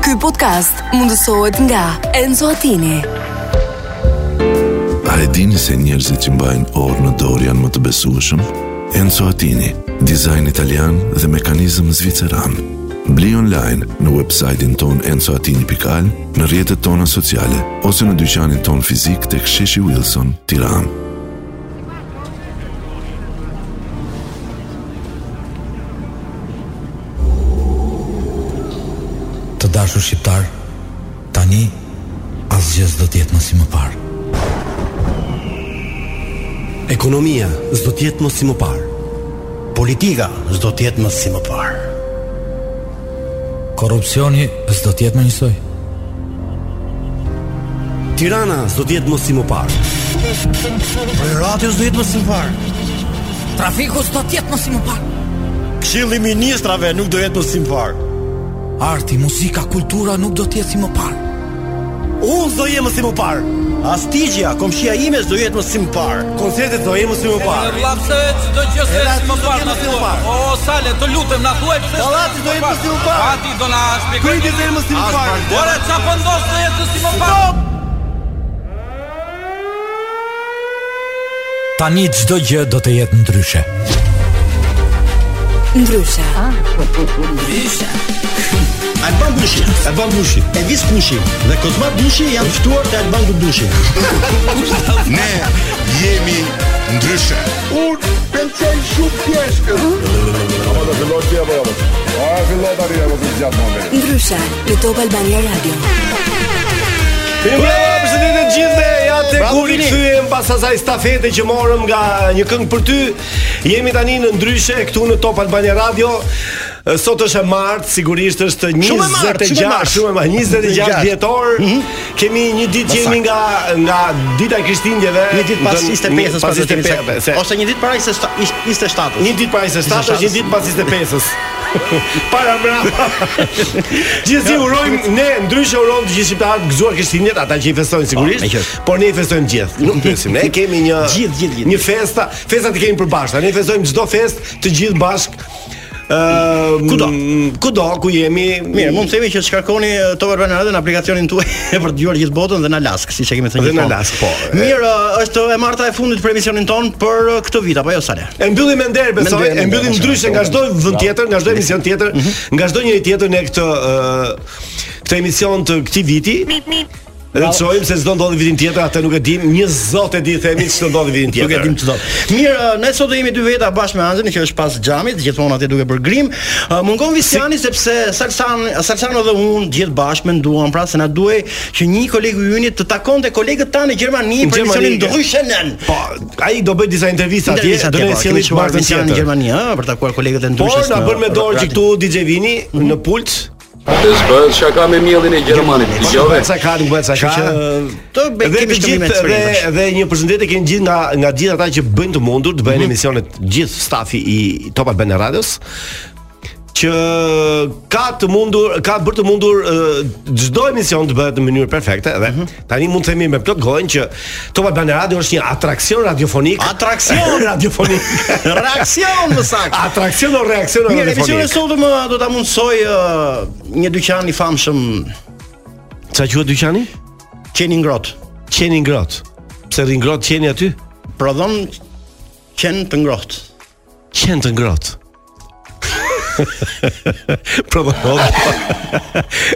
Ky podcast mundësohet nga Enzo Attini. A e dini se njerëzit që mbajnë orë në dorë janë më të besueshëm? Enzo Attini, dizajn italian dhe mekanizëm zviceran. Bli online në website-in ton enzoatini.al, në rjetët tona sociale, ose në dyqanin ton fizik të ksheshi Wilson, tiran. Të dashur shqiptar, tani asgjë s'do të jetë më si më parë. Ekonomia s'do të jetë më si më parë. Politika s'do të jetë më si më parë. Korrupsioni s'do të jetë më njësoj. Tirana s'do të jetë më si më parë. Prerati s'do jetë më si më parë. Trafiku s'do tjetë më si më parë. Këshilli i ministrave nuk do jetë më si më parë. Arti, muzika, kultura nuk do të jetë si më parë. Unë s'do jem më si më parë. Astigja, komshia ime s'do jetë më si më parë. Koncertet do jem më si më parë. Lapse çdo gjë se Era, si më çdo parë gjë na mos jemi thuaj. parë. O sale, të lutem na thuaj pse. Dallati do jetë mos jemi parë. Ati do na shpjegoj. Prindit do jetë më si më parë. Ora ça po ndos të jetë si më parë? Tani çdo gjë do të jetë ndryshe. Ndryshe, Alban Bushi, Alban Bushi, Elvis Bushi dhe Kozma Bushi janë ftuar te Alban Bushi. Ne jemi ndryshe. Unë pëlqen shumë pjeshkën. Apo të filloj ti apo apo? A filloj tani apo të gjatë më vjen. ndryshe në Top Albania Radio. Bravo përshëndetje të gjithëve. Ja tek u rikthyem pas asaj stafete që morëm nga një këngë për ty. Jemi tani në ndryshe këtu në Top Albania Radio. Sot është e martë, sigurisht është 26 Shumë e martë, shumë Mhm. e martë. shumë e martë, 26 dhjetor. Kemi një ditë që jemi nga nga dita e Krishtlindjeve. Një ditë pas Dën- 25-s pas pas 25-s, se- 25-s. Ose një ditë para 27-s. Një ditë para 27-s, një ditë pas 25-s. Para brava. Gjithsesi urojmë ne ndryshe urojmë të gjithë shqiptarët gëzuar Krishtinjet, ata që i festojnë Ah, me sigurisht, qërt. por ne i festojmë gjithë. Nuk pyesim, ne kemi një Gjithë, gjithë, gjithë. Një festa, festat i kemi përbashkëta. Ne festojmë çdo festë të gjithë bashk. Ëm Kudo. Kudo ku jemi. Mirë, mund të themi që të shkarkoni eh, Top Albana Radio në aplikacionin tuaj për të dëgjuar gjithë botën dhe në Alask, siç e kemi thënë Dhe në gjithmonë. Alask, po. Mirë, eh, është e marta e fundit për emisionin ton për eh, këtë vit apo jo Sale? E mbyllim me nder, besoj, Me nder, me e mbyllim nder, ndryshe shumë, nga shumë. çdo vend Bravo. Mhm. tjetër, nga çdo emision tjetër, nga çdo njeri tjetër ne këtë ë, këtë emision të këtij viti. Dhe të shohim se çdo ndodhi vitin tjetër, atë nuk e dim, një zot e di themi ç'do ndodhi vitin Nuk tjetër. e dim çdo. Mirë, eh, ne sot do jemi dy veta bashkë me Anzin që është pas xhamit, gjithmonë atje duke bërë grim. Eh, Mungon Visiani sepse Salsan, Salsano dhe unë gjithë bashkë menduam pra se na duhej që një kolegu yni të takonte kolegët tanë në Gjermani për Gjermani. emisionin ndryshe nën. Po, ai do bëj disa intervista atje, do ne po, sjellim martën në tjetër. Gjermani, ëh, për takuar kolegët e Pra, Por ndryshës. na në- bën me dorë që këtu DJ Vini Mhm. në pult, Atës bëhet shaka po, me mjellin e Gjermanit. nuk Jove, bëhet sa ka, nuk bëhet sa ka. pra, të bëj Dhe kemi të shkëmbime gjithë dhe eksperimentesh. dhe një përshëndetje kemi gjithë nga nga gjithë ata që bëjnë të mundur të Mhm. bëjnë emisionet gjithë stafi i Top Albana Radios që ka të mundur ka bërë të mundur ë, çdo emision të bëhet në mënyrë perfekte dhe Mhm. tani mund të themi me plot gojën që Top Albana Radio është një atraksion radiofonik. Atraksion radiofonik. Reaksion më saktë. atraksion o reaksion Mirë, emisioni radiofonik. sotëm ë, do ta mundsoj ë, një dyqan i famshëm Sa quhet dyqani? Qeni Ngrot. Qeni ngrohtë. Pse rri ngrohtë qeni aty? Prodhon qen të ngrohtë. qenë të ngrohtë. Prodhon.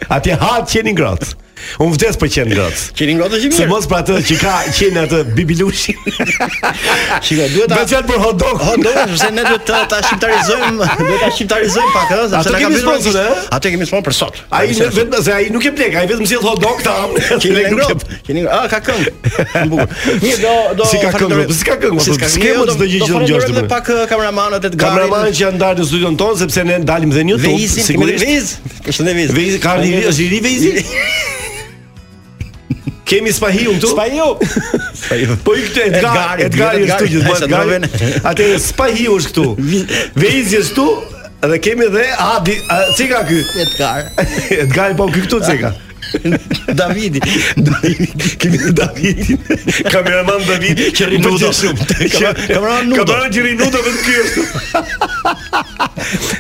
Atje ha qeni ngrohtë. Unë vdes për qenë ngrohtë. Qeni Ngrot është i Se mirë. mos për atë që ka qenë atë bibilushin. Shiko, duhet ta Bëhet fjalë për hot dog. Hot dog, sepse ne duhet ta, ta shqiptarizojmë, duhet ta shqiptarizojmë pak, ëh, Ato sepse na ka kemi bërë sponsor, rëndësi. ë? Ato kemi sponsor për sot. Ai në- vetëm se ai nuk e plek, ai vetëm sjell hot dog ta. Qeni Ne nuk e- Ngrot. Qeni Ngrot. Ah, ka këngë. Shumë bukur. Mirë, do do Si ka këngë, falenderoj- po si ka këngë, Si po s'ka s'ke këngë, më do- çdo gjë do që do ngjosh falenderoj të edhe bëj. pak ë, kameramanët e të garit. Kameramanët që janë ndarë në studion ton sepse ne dalim dhe në YouTube, Veizin, sigurisht. sigurisht. Veiz, përshëndetje Veiz. Veizi ka ri, është i ri Veizi? Kemi spahiu këtu? Spahiu. Po i këtë Edgar, Edgari, Edgari Edgari. është këtu gjithmonë. Sa Edgari. drove Atëherë Spahiu është këtu. Veizi është këtu dhe kemi dhe Adi, a, si ka ky? Edgar. Edgari po ky këtu si ka? Davidi. Kemi dhe Davidin. Kameraman David që rri Nudo. shumë. Kamera- kameraman Nudo. Kameraman që rri nudo vetë ky është.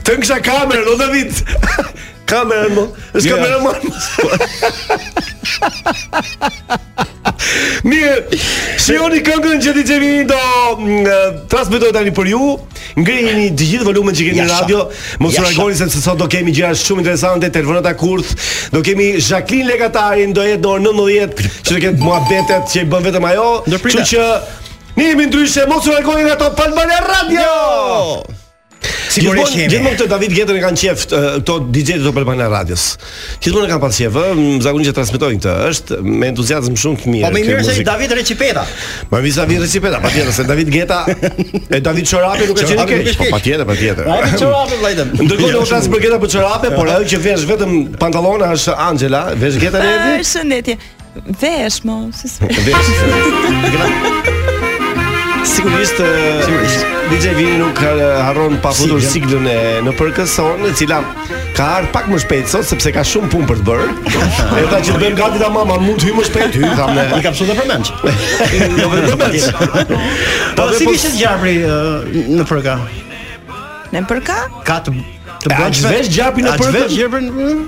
Të ngisha kamerën, o David. Kamera më, është Ja. kamera më. Mirë, shihoni këngën që ti gjeni do mm, transmetoj tani për ju. Ngriheni të gjithë volumen që keni në Ja, radio. Mos Ja, u sha. largoni sepse sot do kemi gjëra shumë interesante, telefonata kurth, do kemi Jacqueline Legatarin, do jetë në orën 19, që do ketë muhabetet që i bën vetëm ajo. Ndërprita. Kështu që ne jemi ndryshe, mos u largoni nga Top Albania Radio. Jo! Sigurisht Gjithmonë jemi. gjithmonë këtë David Gjetën e kanë qef ë, këto DJ-të të Albania Radios. Gjithmonë e kanë pas qef, ë, m, zakonisht e transmetojnë këtë. Është me entuziazëm shumë të mirë. Po më kjo mirë se muzikë. David Recipeta. Ma vjen David Recipeta, patjetër se David Geta e David Çorapi nuk e Çorapi qenë nuk keq. është Po keq. patjetër, patjetër. David Çorapi vllajtëm. Ndërkohë ne u flas për Geta për Çorape, por ajo që vesh vetëm pantallona është Angela, vesh Geta në Ai shëndetje. Vesh mo, si s'e. Vesh. E kena- Sigurisht, ë, DJ Vini nuk ë, harron pa futur Siglën. siglën e në përkëson, e cila ka ardhur pak më shpejt sot sepse ka shumë punë për të bërë. E tha që të bëjmë gati ta mama, mund të hyj më shpejt, hyj tham ne. I kam shumë dhe përmend. Jo vetëm vetë. Po dhe si po- vishë gjapri ë, në përka? Në përka? Ka të të A bëjë zvesh gjapin në A përkën? zvesh gjapin?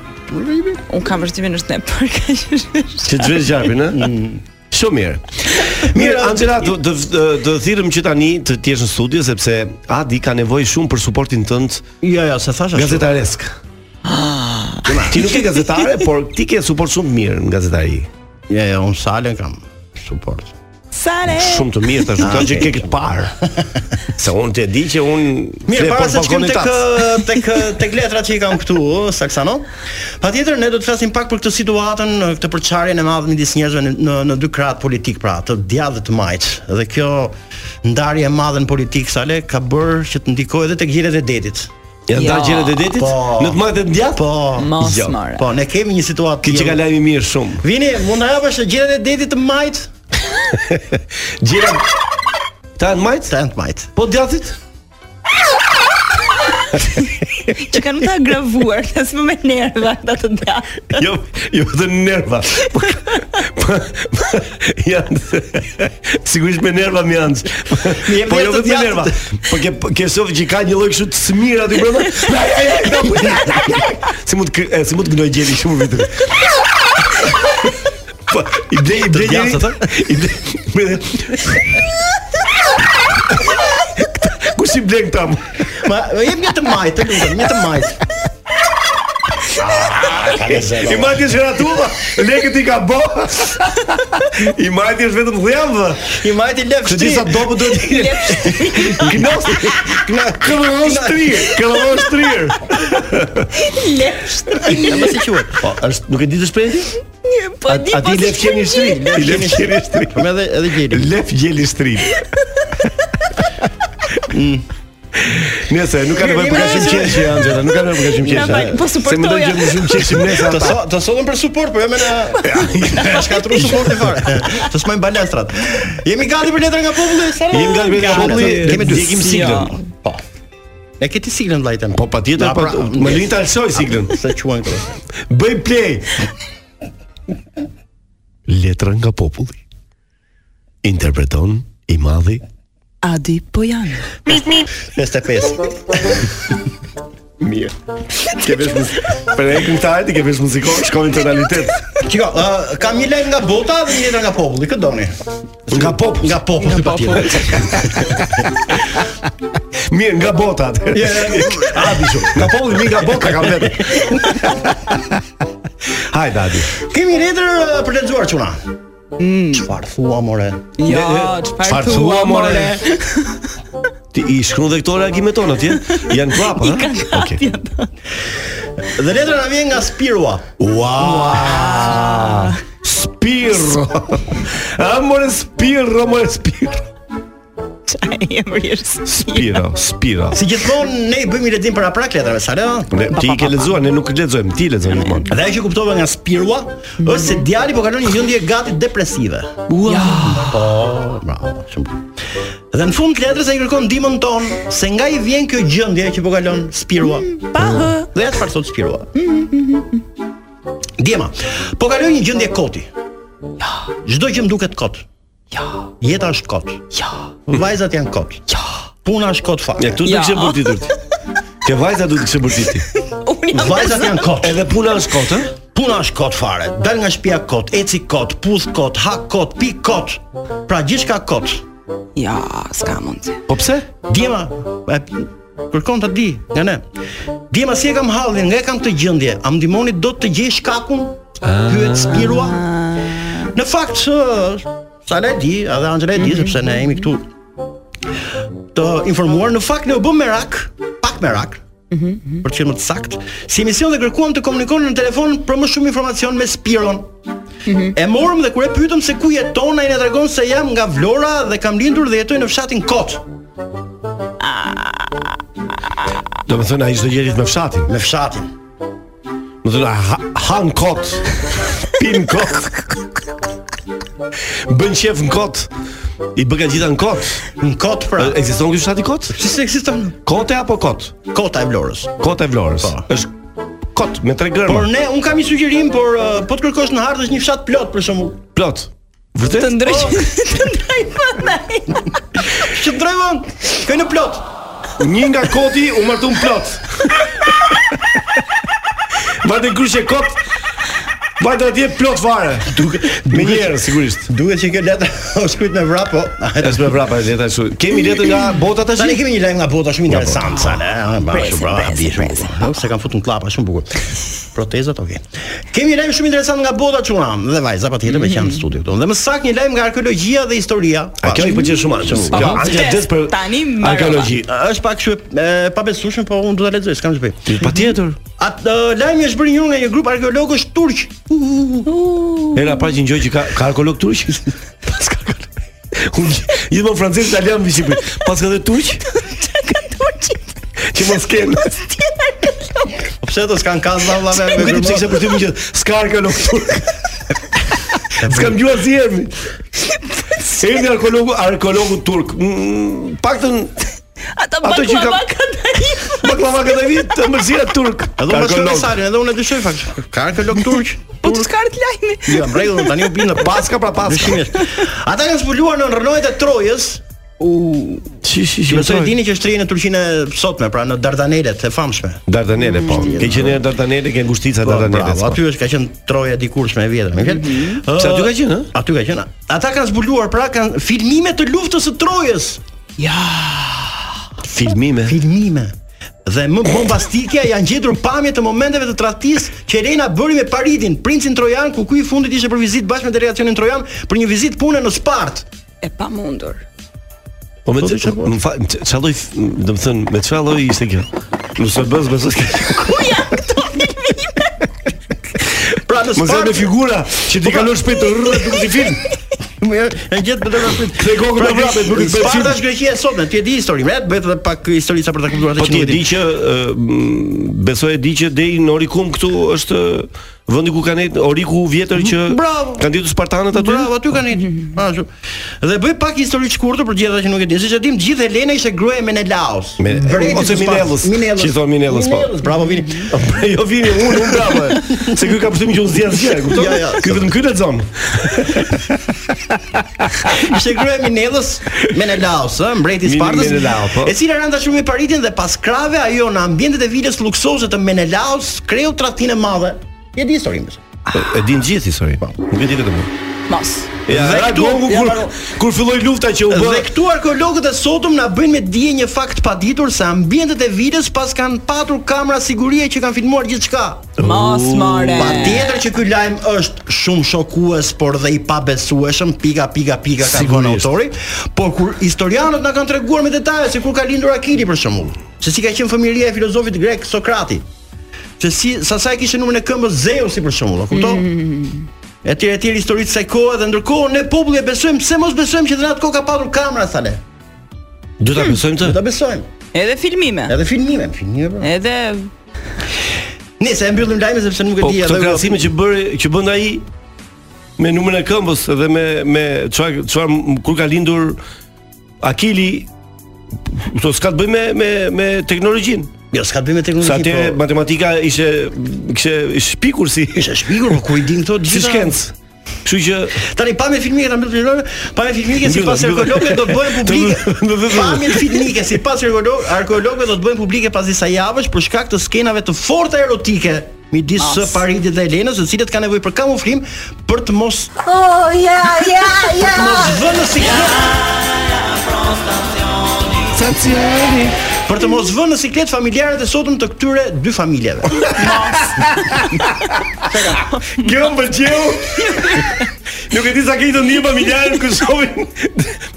Un kam vështimin është në përka. Që të vesh gjapin, ë? Mm. Shumë mirë. Mirë, Angela, do do do thirrëm që tani të të jesh në studio sepse Adi ka nevojë shumë për suportin tënd Jo, jo, se thash ashtu. gazetaresk. Ah. Ti nuk je gazetare, por ti ke suport shumë të mirë në gazetari. Jo, jo, unë salën kam suport. Sare. Shumë të mirë tash, ka që ke këtë parë. Se unë të di që unë Mirë, fle para poshtë se të shkojmë balkonit tek tas. ë, tek ë, tek letrat që i kam këtu, ë, Saksano. Patjetër ne do të flasim pak për këtë situatën, ë, këtë përçarjen e madhe midis njerëzve në në, në dy krahat politik, pra, të djathtë dhe të majt. Dhe kjo ndarje e madhe në politikë sale ka bërë që të ndikojë edhe tek gjelet e detit. Ja nda Jo, gjelet e detit, po. në të madhe të ndjat. Po. Jo. Mos Jo, more. Po, ne kemi një situatë Ki që ka lajmi mirë shumë. Vini, mund na japësh gjelet e detit të majt? Gjera Ta në majt? Të të majt. Po djathit? Që kanë më të agravuar, tas më me nerva ata të dashur. Jo, jo të nerva. Po, po, po, janë sigurisht me nerva më janë. jep Po jetë jo të vetëm me nerva. Po ke ke shoh që ka një lloj kështu të smir aty brenda. Ja, ja, ja, ja, po, ja, ja, ja. Si mund të kë- e, si mund të gnoj gjeli shumë vitë. Po, i ble i ble djathtë, gjeli. I ble. me- Kush i blen këta? mo? Ma ma jep një të majt, të lutem, një të majt. I majti është ratulla, lekët i ka bo I majti është vetëm dhjam dhe Një majt i lëf Kështë disa dobu do t'i Gnos Këllëvon shtrirë Këllëvon shtrirë Lefsht. Ja më si quhet. Po, është, nuk e ditë shprejti? Një, Po di po. A ti si lef qeni shtri I lef qeni shtri më edhe edhe gjeli. Lef gjeli shtri Nëse, nuk ka nevojë për kashim qeshje, Angela, nuk ka nevojë për kashim Na fal, po qeshje. Se më do suportoja. gjejmë shumë qeshje nesër. Të so, të sotëm për suport, po jo më na shkatru suporti fare. Të smajm balastrat. Jemi gati për letra nga populli, sa? Jemi gati për letra nga populli, kemi dy. ndjekim siglën. Po. Ne keti siglën vllajtën. Po patjetër, pra- po më lini ta alsoj siglën. Sa quhen këto? Bëj play. Letra nga populli. Interpreton i madhi Adi po janë. 55. mirë. Ke vesh muzikë. Për e këngëtarit ke vesh muzikor, shkojnë tonalitet. Çiko, ë, kam një lajm nga bota dhe një letër nga populli, këtë doni. Nga populli. Nga populli patjetër. Mirë, nga bota atë. Ja, ja, ja. A di shumë. Nga populli, mirë nga bota kam vetë. Hajde Adi. Kemi letër ë, për lexuar çuna. Çfarë thua more? Jo, Çfarë çfarë thua more? Ti i shkruan dhe këto reagime tona atje? Janë prapë, ha? Okej. Dhe letra na vjen nga Spirua. Ua! Spirro. Amore Spirro, amore Spirro. Çaj emri është. Spirro, Spirro. Si gjithmonë ne i bëjmë i lexim para prak letrave, sa le? ë? Ne, ti i ke lexuar, ne nuk lexojmë, ti lexon gjithmonë. Dhe ajo që kuptova nga Spirua është se djali po kalon një gjendje gati depresive. Ua. Po, bravo, shumë. bukur. Dhe në fund të letrës ai kërkon ndihmën tonë se nga i vjen kjo gjendje që po kalon Spirua. Pa hë. Dhe ja çfarë thot Spirua. Djema, po kaloj një gjendje koti. Çdo gjë më duket kot. Ja. Jeta është kot. Ja. Vajzat janë kot. Ja. Puna është kot fare. Ja, këtu do të kishë bërtitur ti. Ke vajza do të kishë bërtitur ti. Unë unë jam Vajzat janë kot. Edhe puna është kot, ë? Puna është kot fare. Dal nga shtëpia kot, eci kot, puth kot, ha kot, pi kot. Pra gjithçka kot. Ja, s'ka mundsi. Po pse? Djema e, kërkon ta di nga ne. Djema si e kam hallin, nga e kam këtë gjendje. A më ndihmoni dot të gjej shkakun? Pyet Spirua. Në fakt ë, sa ne di, edhe Angela e di Mhm. sepse ne jemi këtu të informuar. Në fakt ne u bëm merak, pak merak. për të qenë më të saktë, si emision dhe kërkuam të komunikonim në telefon për më shumë informacion me Spiron. E morëm dhe kur e pyetëm se ku jeton, ai na tregon se jam nga Vlora dhe kam lindur dhe jetoj në fshatin Kot. Do të thonë ai çdo gjërit me fshatin. me fshatin. Do të thonë ha, han kot. Pin kot. Bën qef në kot. I bëka gjitha në kot. Në kot pra. E- Ekziston ky fshati kot? Si se ekziston Kote apo kot? kota e Vlorës. Kote e Vlorës. Është kot me tre gërma. Po. Por ne un kam një sugjerim, por uh, po të kërkosh në hartë është një fshat plot për shembull. plot. Vërtet? Të ndrysh, të ndryj prandaj. Që drejvon, kënë në plot. Po. Një nga koti u martun plot. Vajte kryqe kot. Vajte atje plot fare. Duke me njerë sigurisht. Duhet që kjo letra është shkruajt me vrap, po. Është me vrapa e leta kështu. Kemi letë nga bota tash? Tani Po kemi një lajm nga bota shumë po. interesant sa ne, ha, ba, Presim, shumë brava, presim, bi, shumë presim. bukur. Po, se kanë futur në klapa, shumë bukur. Protezat, okay. Kemi një lajm shumë interesant nga bota çuna dhe vajza patjetër me që janë në studio këtu. Dhe më saktë një lajm nga arkeologjia dhe historia. A kjo i pëlqen shumë anë. Kjo Aha. anë des për Tani mbarova. arkeologji. është pak kështu e e, pabesueshme, po unë do ta lexoj, s'kam çfarë. Patjetër. Atë uh, lajmi është bërë një nga një grup arkeologësh turq. U, u, u. Era para që ngjoj që ka ka arkeolog turq. Pas ka arkeolog. Unë gjithmonë francez italian mbi shqipëri. Pas ka dhe turq që mos kenë. Po pse ato s'kan kaz valla me me Nuk e di grup. pse kisha për ty më që s'ka arkeolog turk. S'kam gjua si ermi. Erdi arkeologu, arkeologu turk. Mm, Paktën Ata Ato që baklava kam- ka tani. baklava ka tani të mërzira turk. Edhe unë shkoj Arkeolog. Sarin, edhe unë e dyshoj fakt. Ka arkeolog turq. Po të skart lajmi. Ja, mbrellën tani u bin në paska pra paska. Ata kanë zbuluar në rrënojët e Trojës, Shi shi shi. që besoj dini që është në Turqinë e sotme, pra në Dardanelet e famshme. Dardanele po. Ke qenë në Dardanele, ke ngushtica Po, Dardanele. bravo, aty është ka qenë Troja dikurshme e vjetër, më fal. Pse Mhm. aty ka qenë, ë? Aty ka qenë. Ata kanë zbuluar pra kanë filmime të luftës së Trojës. filmime. filmime dhe më bombastike janë gjetur pamje të momenteve të tradhtisë që Elena bëri me Paridin, princin trojan, ku ky i fundit ishte për vizitë bashkë me delegacionin trojan për një vizitë pune në Spartë. E pamundur. Po me Po, çfarë? më fal, çfarë lloj, do të thënë, me çfarë lloj ishte kjo? Nëse bëz besoj se Pra në mos jam me Spartë figura që ti kalon shpejt të rrë duke ti film. më e gjet me dorë shpejt. Kthej kokën me vrapet, nuk i bëhet Sparta film. është Greqia e sotme, ti e di historinë, vet bëhet edhe pak histori sa për ta kuptuar atë Po ti e nuk di që ë, m, besoj e di që deri në Orikum këtu është vendi ku kanë nejtë- Oriku vjetër që Bravo. kanë ditur spartanët aty. Bravo, Pra, aty kanë një. Mm-hmm. Ah, shumë. Dhe bëj pak histori të shkurtër për gjithë ata që nuk e dinë. Siç e dim, gjithë Helena ishte gruaja e Menelaos. Me- Bretit ose të Spartës. Minellës. Minellës. Që i thon Minellës, po. Bravo vini. jo vini unë, unë bravo. e. Se ky ka përshtymin që unë zgjas gjë, e kupton? Ja, ja. Ky vetëm ky lexon. Ishte gruaja e Minellës Menelaos, ë, mbreti i Min- Spartës. Menelao, po. E cila randa shumë me paritin dhe pas krave ajo në ambientet e vilës luksoze të Menelaos kreu tradhtinë e madhe. Je di historinë. besoj. E din gjithë historinë. Po. Nuk e di vetëm unë. Mos. Ja, Dhe ra këtu- gongu ja, kur bravo. kur filloi lufta që u bë. Dhe këtu arkeologët e sotëm na bëjnë me dije një fakt paditur se ambientet e vilës pas kanë patur kamera sigurie që kanë filmuar gjithçka. Mos more. Pa tjetër që ky lajm është shumë shokues, por dhe i pabesueshëm, pika pika pika ka thënë Sigurisht. autori, por kur historianët na kanë treguar me detaje se kur ka lindur Akili për shembull, se si ka qenë fëmijëria e filozofit grek Sokrati, se si sa sa e kishte numrin e këmbës Zeusi për shembull, e kupton? Mhm. Etj etj historitë së kohë dhe ndërkohë ne populli e besojmë, pse mos besojmë që në atë kohë ka patur kamera sa le? do ta Hmm. besojmë Do të. ta besojmë. Edhe filmime. Edhe filmime, filmime. pra. Edhe Nëse e mbyllim lajmin sepse nuk e Po di këto edhe krahasime që bëri që bën ai me numrin e këmbës dhe me me çfarë çfarë m- kur ka lindur Akili këto s'ka të bëj me me me teknologjinë. Jo, s'ka të bëjë me Sa teknologji. atje po- matematika ishte kishte shpikur si Ishte shpikur, po ku i din këto si gjitha? shkencë. Kështu që tani pa me filmike ta mbyllë, pa me filmike Mbyllë, sipas mbyllë. arkeologëve do të bëhen Të mbyllë, publike. mbyllë. Pa me filmike sipas arkeolog- arkeologëve do të bëhen publike pas disa javësh për shkak të skenave të forta erotike midis As. së Paridit dhe Elenës, të cilët kanë nevojë për kamuflim për të mos Oh, ja, ja, ja. mos vënë në siklet. Për të mos vënë në siklet familjarët e sotëm të këtyre dy familjeve. Kjo më pëlqeu. Nuk e di sa ke të ndihmë familjarën kur shohin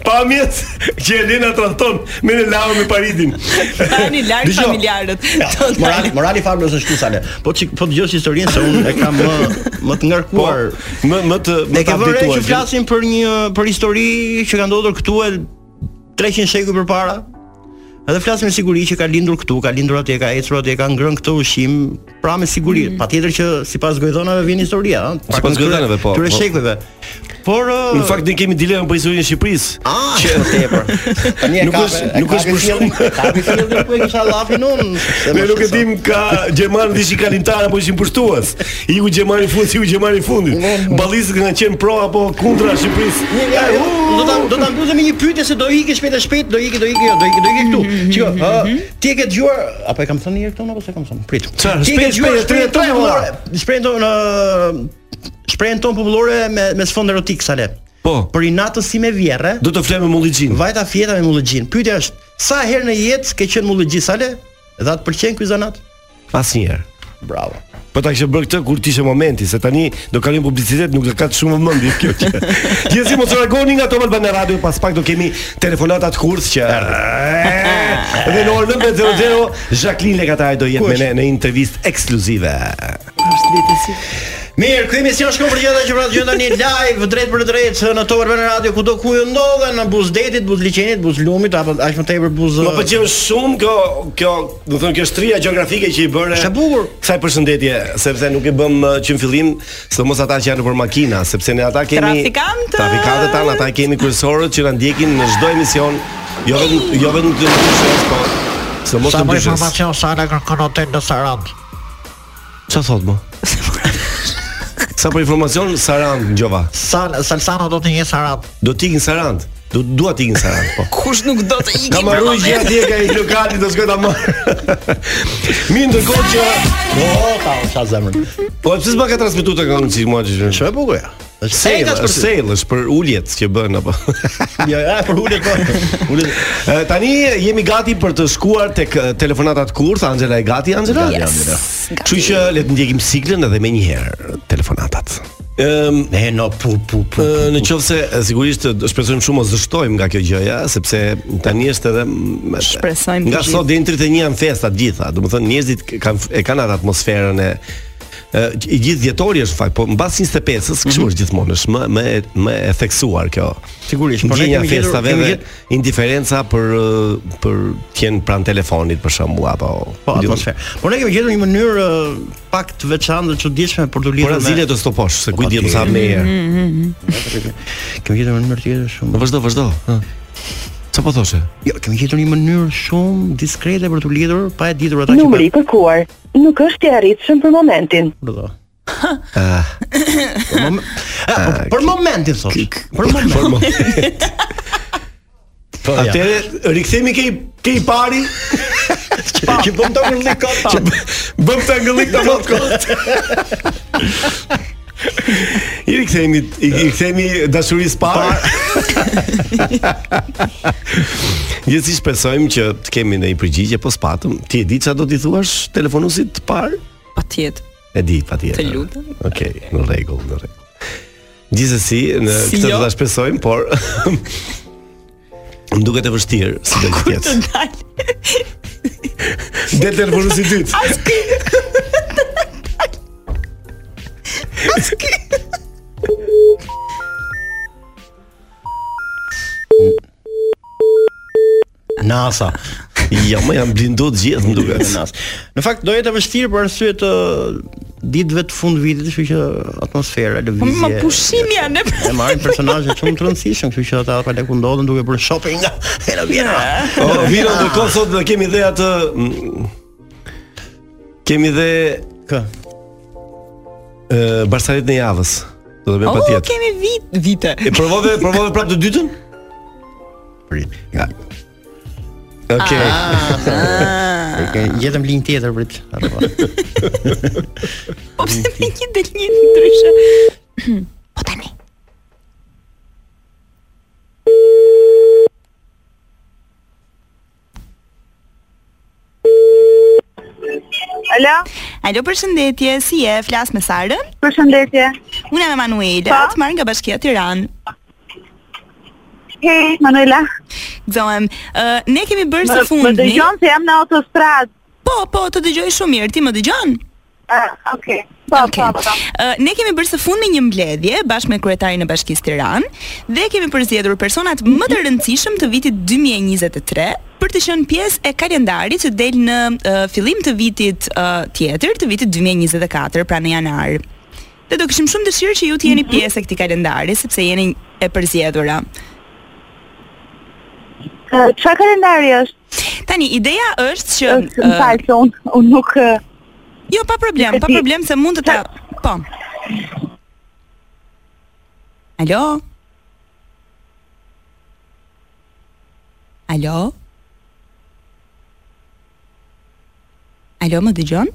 pamjet që Elena tradhton me në lavë me Paridin. Tani larg Dëgjoj. familjarët. Morali, morali i fabulës është ky sale. Po çik, po dëgjosh historinë se unë e kam më më të Po, ngarkuar. më më të Ne më të ke vënë re habituar. që flasim për një për histori që ka ndodhur këtu e 300 shekuj përpara. Edhe flasim me siguri që ka lindur këtu, ka lindur atje, ka ecur atje, ka ngrënë këtë ushqim, pra me siguri. Patjetër që sipas gojdhënave vjen historia, ëh. Sipas gojdhënave, po, Tyre po. shekujve. Por ë, Në fakt ne kemi dilemë për historinë e Shqipërisë. Ah, që tepër. Tani e Nuk ka. është- e nuk ka është ke për shumë. fillin- Ka me fillin ku e kisha llafin unë. se Ne më nuk e shqetëson. dim ka gjermanë dhe ishin kalimtar apo ishin pushtues. Iku gjermani i fundit, iku gjermani i fundit. Ballistët kanë qenë pro apo kundra Shqipërisë. Ja, jo, do ta do ta mbyllë me një pyetje se do ikë shpejt e shpejt, do ikë, do ikë, jo, do ikë, do ikë këtu. Mm-hmm. Çiko, ë, ti e ke dëgjuar apo e kam thënë një herë këtu apo s'e kam thënë? Prit. Çfarë, Ti e ke shpejt, dëgjuar shpejt, shprehjen 33 tonë hora. popullore? Shprehjen tonë ë, shprehjen tonë popullore me me sfond erotik sale. Po. Për inatës si me vjerre, Do të flemë me Mullixhin. vajta fjeta me mullëgjin. Pyetja është, sa herë në jetë ke qenë mullëgji sale? Dhe atë pëlqen ky zanat? Asnjëherë. Bravo. Po ta kishe bërë këtë kur t'ishte momenti, se tani do kalojmë publicitet, nuk do ka të shumë vëmendje kjo që. Gjithsesi mos u largoni nga Top Albana Radio, pas pak do kemi telefonata të kurth që dhe në orën 9:00 Jacqueline Lekataj do jetë me ne në intervistë ekskluzive. Mirë, ky emision shkon për gjëra që pra gjëra tani live drejt për drejt në Top Albana Radio kudo ku ju ndodhen në buzdetit, buzliqenit, buzlumit apo aq më tepër buz Më pëlqen shumë kjo kjo, do të thonë kjo shtria gjeografike që i bëre. Është e bukur. Kësaj përshëndetje, sepse nuk e bëm uh, që në fillim, sidomos ata që janë nëpër makina, sepse ne ata kemi Trafikantët. Trafikantët tanë, ata kemi kryesorët që na ndjekin në çdo emision, jo vetëm jo vetëm të ndryshës, po sidomos të ndryshës. sala kërkon hotel në Sarand. Çfarë thot më? Sa për informacion Sarand Gjova. Sal Salsano do të një Sarand. Do t'ikin Sarand. Do dua t'ikin Sarand, po. Kush nuk do të ikë? Ka marrë gjë atje ka i lokali do shkoj ta marr. Mi ndërkohë që Po, ta sa zemrën. po pse s'ma ka transmetuar të këngë çik mua çish. Çfarë bukur ja. Është Sale, sejtas është për se. sale, është për uljet që bën apo. Ja, ja, për ulet po. Ulet. E, Tani jemi gati për të shkuar tek e, telefonatat kurth, Angela e gati, Angela. Yes, Angela. gati. Kështu që le të ndjekim siklën edhe më një herë telefonatat. Ëm Ne no pu pu pu. Ë, Në qoftë se Ehm, e, sigurisht e, shpresojmë shumë mos zështojmë nga kjo gjë, ja, sepse tani është edhe m- me- Shpresojmë të Nga gjithë. sot deri në 31 janë festa të gjitha. Domethënë njerëzit k- kanë e kanë atë atmosferën e e, i gjithë dhjetori është në fakt, po mbas 25-s, kështu Mhm. është gjithmonë, është më më e- më e theksuar kjo. Sigurisht, por ne Ndjenja kemi gjetur- festave kemi dhe gjetur- indiferenca për e, për të jenë pranë telefonit për shembull apo Po, atmosferë. Por ne kemi gjetur një mënyrë ë, pak të veçantë dhe çuditshme për të Por lidhur azile të stoposh, se Po, kujt diet sa më Mhm. herë. Kemi gjetur një mënyrë tjetër shumë. Vazhdo, vazhdo. ë. Çfarë po thoshe? Jo, kemi gjetur një mënyrë shumë diskrete për të lidhur pa e ditur ata që Numri i kërkuar nuk është i arritshëm për momentin. Për do. Ah. Për mom- Ah, po, për momentin thosh. Për Për momentin. mo- Po, ja. Atëre rikthehemi ke i- ke i pari Që bëm të ngulli kota. Bëm të ngëllik të matë kot I rikthehemi i i rikthehemi dashurisë parë. Gjithsesi shpresojmë që të kemi ndonjë përgjigje, po spatëm. Ti e di çfarë do t'i thuash telefonusit të parë? Patjetër. E di patjetër. Të lutem. Okej, në rregull, në rregull. Gjithsesi, në Si këtë do jo? ta shpresojmë, por më duket e vështirë si do të Të jetë. dal. Del telefonusi i dytë. NASA. Jo, më janë blindu të gjithë, më duket. NASA. Në fakt do jetë e vështirë për arsye të ditëve të fund vitit, kështu që atmosfera, Po lëvizje. më pushim janë. E marrin personazhe shumë të rëndësishëm, kështu që ata pa leku ndodhen duke bërë shopping nga Helovina. O, Vino, ndërkohë sot do kemi dhe atë mm, kemi dhe Kë? ë barsaret në javës. Do Do të bëjmë Oh, patjetër. kemi vit, vite. E provove, provove prapë të dytën? Prit. Ja. Okej. Ah. Okej, gjetëm linjë tjetër prit. Po pse me një del një ndryshe? Po tani. Alo? Alo, përshëndetje, si je? Flas me Sarën? Përshëndetje. Unë jam Emanuele, Po. të marrë nga bashkia Tiranë. Hej, Manuela. Gëzohem. Ë, ne kemi bërë Më- së Më fundmi. dëgjon se jam në autostradë. Po, po, të dëgjoj shumë mirë. Ti më dëgjon? Ah, okay. Po, Okej. po, po. Ë, ne kemi bërë së fundmi një mbledhje bashkë me kryetarin e Bashkisë Tiranë dhe kemi përzgjedhur personat më të rëndësishëm të vitit 2023 për të qenë pjesë e kalendarit që del në uh, fillim të vitit uh, tjetër, të vitit 2024, pra në janar. Dhe do kishim shumë dëshirë që ju të Mhm. jeni pjesë e këtij kalendari sepse jeni e përzgjedhura. Ë, Çfarë kalendari është? Tani ideja është që Ë, Më ë, falë se unë unë nuk ë, jo pa problem, pa Ti- problem se mund të ta po. Alo? Alo? Alo, më dëgjon?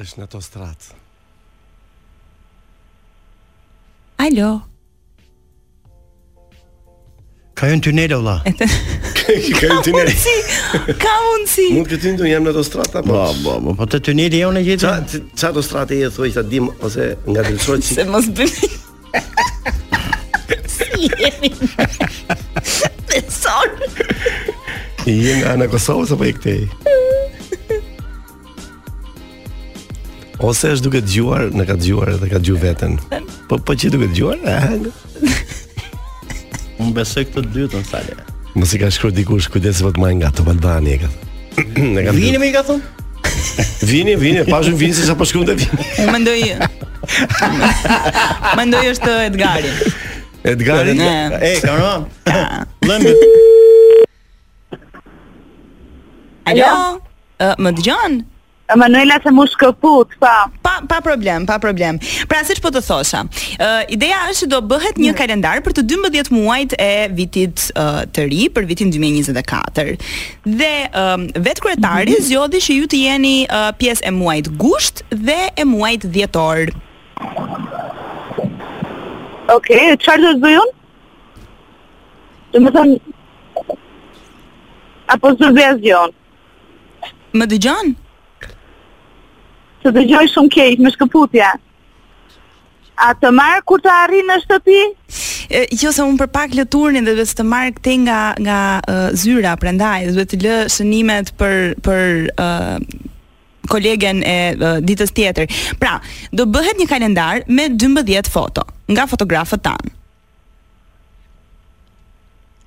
Është në autostradë. Alo. Ka hyrë tunele vëlla. Ka një tunel. Si? Ka mundsi. Mund të tin jam në autostradë apo? Po, po, po, po te tuneli jonë Ça gjetë. ça autostradë je thoj sa dim ose nga dëlsorët si Se mos bëni. si jemi? Sorry. je nga ana Kosovës apo je këtej? Ose është duke dëgjuar, në ka dëgjuar edhe ka dëgju veten. Po po që duke dëgjuar? a? Unë besoj këtë dytën sale. Mos i ka shkruar dikush kujdes po të marr nga Top Albani e ka. thënë. Ne ka Vini më i ka thonë? vini, vini, pashëm vini se sa po shkruante vini. Unë mendoj Mendoj është Edgari. Edgari, Ne. E, ka rënë. Lëmbi. Jo, Alo? Ë, Më dëgjon? Manuela se mu shkëput, po. Pa pa problem, pa problem. Pra siç po të thosha, ë ideja është që do bëhet Mm. një kalendar për të 12 muajt e vitit ë, të ri, për vitin 2024. Dhe ë, vetë kryetari Mm-hmm. zgjodhi që ju të jeni ë, pjesë e muajit gusht dhe e muajit dhjetor. Okej, çfarë do të bëj unë? Do të thonë apo s'do bëj asgjë unë. Më dëgjon? Të dëgjoj shumë keq me shkëputja. A të marr kur të arri në shtëpi? E, Jo se unë për pak lë turnin dhe duhet të marr këtë nga nga uh, zyra prandaj duhet të lë shënimet për për uh, kolegen e uh, ditës tjetër. Pra, do bëhet një kalendar me 12 foto nga fotografët tanë.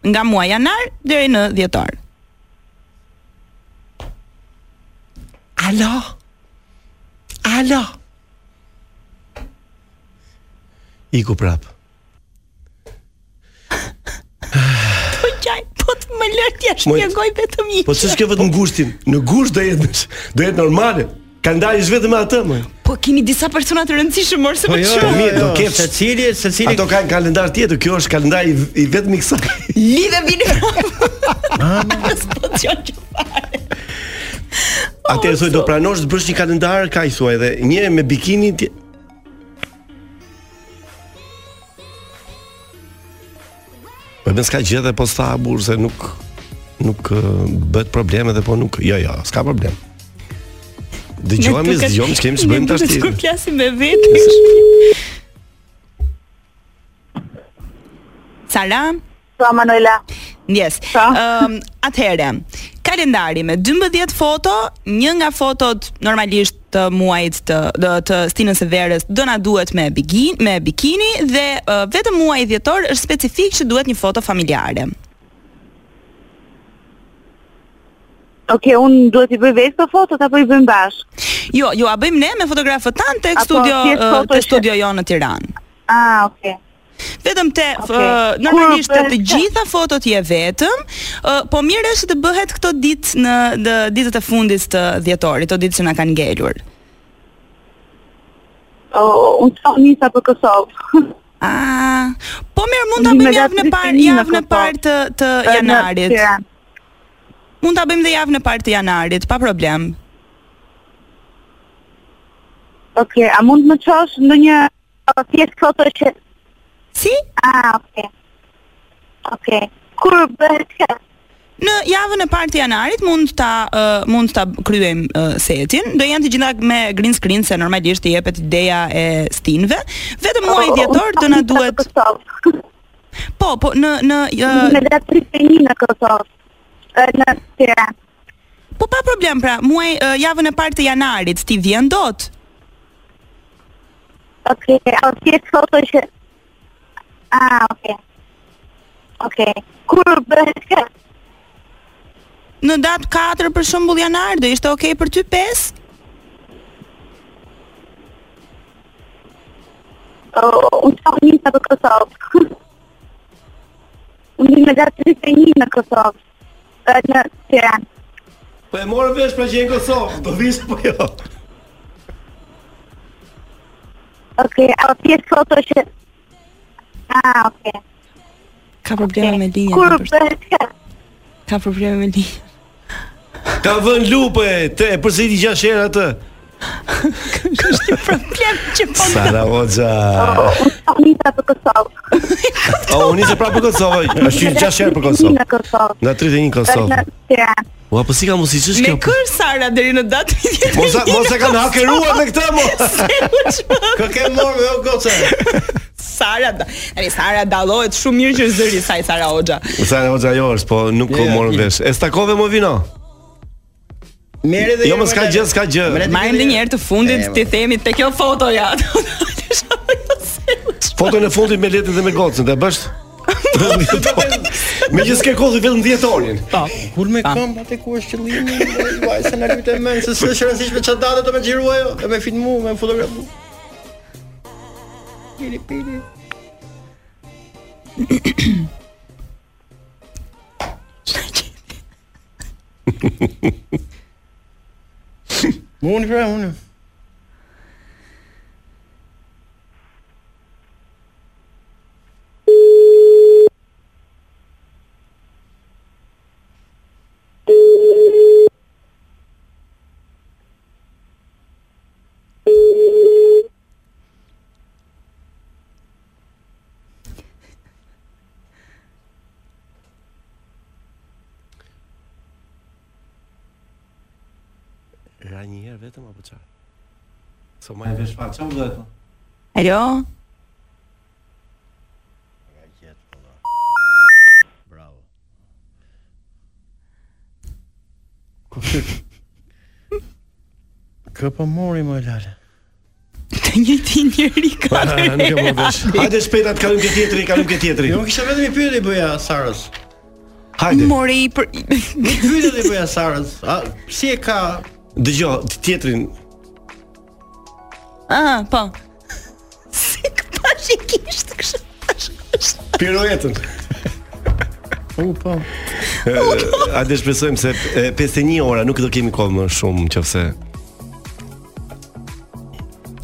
Nga muaji janar deri në dhjetor. Alo. Alo. Iku prap. Po qaj, po të më lër t'ja Moj- shpjegoj vetëm një. Po ç'është kjo vetëm gushtin? Në gusht do jetë do jetë normale. Kalendari është vetëm me atë më. Po keni disa persona të rëndësishëm morse Po po jo, çfarë? po mirë, do kepsh. Secili, secili. Ato kanë kalendar tjetër, kjo është kalendari i, i vetëm i kësaj. Lidhe vini prapë. Ah. Po t'ja që Atëherë thoj do pranosh të bësh një kalendar kaq thuaj dhe një me bikini tje... Po më s'ka gjë dhe po s'tha burr se nuk nuk ë, bëhet problem edhe po nuk. Jo, jo, s'ka problem. Dëgjojmë, dëgjojmë, ç'kem të bëjmë tash Kur tjetër. flasim me vetë. Sara, Po Manuela. ndjes. Pa. Ëm, atëherë, kalendari me 12 foto, një nga fotot normalisht të muajit të të, të stinës së verës do na duhet me bikini, me bikini dhe ë, vetëm muaji dhjetor është specifik që duhet një foto familjare. Okej, unë duhet i bëj vetë këto fotot apo po i bëjmë bashkë? Jo, jo, a bëjmë ne me fotografët tanë tek Apo studio thjesht ë, foto te që- studio jonë në Tiranë. Ah, okay. Vetëm te Okej. f- normalisht te Kur të bëhet? gjitha fotot je vetëm, ë, po mirë është të bëhet këto ditë në dë, ditët e fundit të dhjetorit, to ditë që na kanë ngelur. uh, unë të nisa po për Kosovë. Ah, po mirë mund ta bëjmë javën e parë, javën e parë të të janarit. Mund ta bëjmë dhe javën e parë të janarit, pa problem. Okej, a mund më çosh ndonjë uh, pjesë foto që Si? Ah, okej. Okej. Kur bëhet kjo? Në javën e parë të janarit mund ta uh, mund ta kryejm uh, setin. Do janë të gjitha me green screen se normalisht i jepet ideja e stinëve. Vetëm muaji dhjetor do na duhet Po, po në në Me datë 31 në Kosovë. Eh, Në Tiranë. Po pa problem pra, muaj uh, javën e parë të janarit ti vjen dot. Okej, a pjesë foto që Ah, okej. Okej. Kur bëhet kjo? Në datë 4 për shembull janar do ishte okay për ty 5? Uh, unë të nisa për Kosovë. unë vim me datë 31 në Kosovë. Eh, Në Tiranë. Po e morë vesh pra që e në Kosovë, do vis po jo. Okej, a pjesë foto që Ah, okej. Ka probleme me linjën. Kur në përshtat. bëhet kjo? Ka probleme me linjën. Ka vën lupe, te e përsëri gjash herë atë. Kështë një problem që po Sara Hoxha. Oh. Unë të nisa për Kosovë. O, unë nisi prapë për Kosovë. Është qenë gjashtë herë për Në Kosovë. Kosovë. Nga 31 në Kosovë. Në Tiranë. Ua, po si ka mos i çesh Me kjo? kër Sara deri në datë 31. Mos a- mos e kanë Kosovë. hakeruar me këtë, mo. Se u çmë. Kë ke morë me o goca? Sara, da- tani Sara dallohet shumë mirë që është zëri i saj Sara Hoxha. Sara Hoxha jo është, po nuk ko morën vesh. E stakove mo vino. Merre dhe Jo, mos ka gjë, s'ka gjë. Marrim edhe një herë të fundit E, ti themi te kjo foto ja. Foton e fundit me letën dhe me gocën, ta bësh? me gjithë s'ke kohë vetëm 10 orën. Po. Kur me kam atë ku është qëllimi, vajse na lutem mend se s'është e rëndësishme çfarë date do më xhiruaj, e me filmu, me fotografu. Pili pili. Unë pra, unë. Ra një herë vetëm apo çfarë? So më e vesh fare çfarë bëhet? mo? Alo. Kë po mori më lale. Të njëjti njeri ka. Ah, Nuk e mund vesh. Hajde shpejt atë kalojmë ke tjetri, kalojmë ke tjetri. Jo, kisha vetëm i pyetje bëja Sarës. Hajde. More i për Një pyetje dhe bëja Sarës. A si e ka Dëgjoj, të tjetrin. Ah, po. Si tash i kisht kështu. Piruetën. U po. Hajde shpresojmë se e, 51 ora nuk do kemi kohë më shumë nëse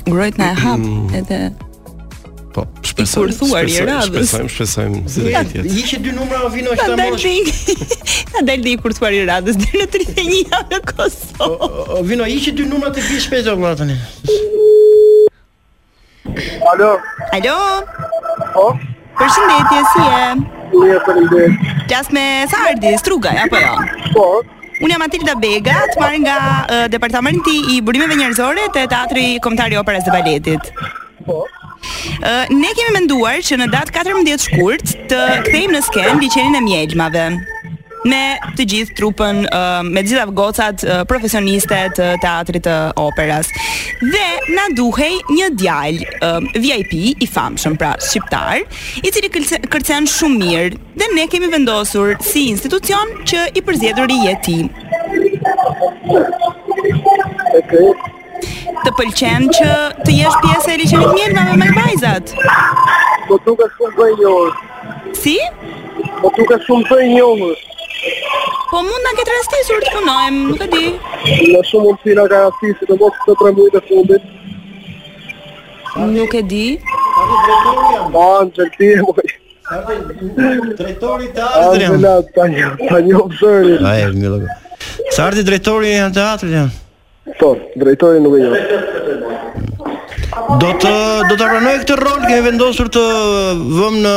Grojt na e hap edhe po shpresojmë. kurthuar i shpresojmë, radhës. Shpresojmë, shpresojmë se do Ja, ketë jetë. Hiqi dy numra vino Ta që ta dal mosh. dhe i Ta dal dhe i kurtuar i radhës Dhe në 31 javë në Kosovë O, o, Vino hiqi dy numra të bish shpejt o vëlla tani. Alo, Alo po, Përshëndetje si e mirë faleminderit. Gjas me Sardi, Strugaj, apo jo Po, Unë jam Matilda Bega, të marrë nga uh, departamenti i burimeve njerëzore të Teatri Kombëtar i Operës dhe Baletit. po. Uh, ne kemi menduar që në datë 14 shkurt të kthejmë në sken liçenin e mjelmave me të gjithë trupën, uh, me të gjitha gocat uh, profesioniste të teatrit të operas. Dhe na duhej një djalë uh, VIP i famshëm, pra shqiptar, i cili këlce- kërcen shumë mirë dhe ne kemi vendosur si institucion që i përzgjedhur i jeti. Okej. Të pëlqen që të jesh pjesë e liçenit mjelmave me vajzat. Po duket shumë për një orë. Si? Po duket shumë për një orë. Po mund na ketë rastisur të punojmë, nuk e di. Në shumë mundësi na ka rasti si të mos të tre mujtë e fundit. Nuk e di. Ban, qëllëti Po, e moj. Drejtori të Anë teatrit. la, ta një, ta një obsërin. Ai, më lëgë. Sa ardhi drejtori i teatrit jam? Sot, drejtori Po, nuk e një. Do të do ta pranoj këtë rol, kemi vendosur të vëm në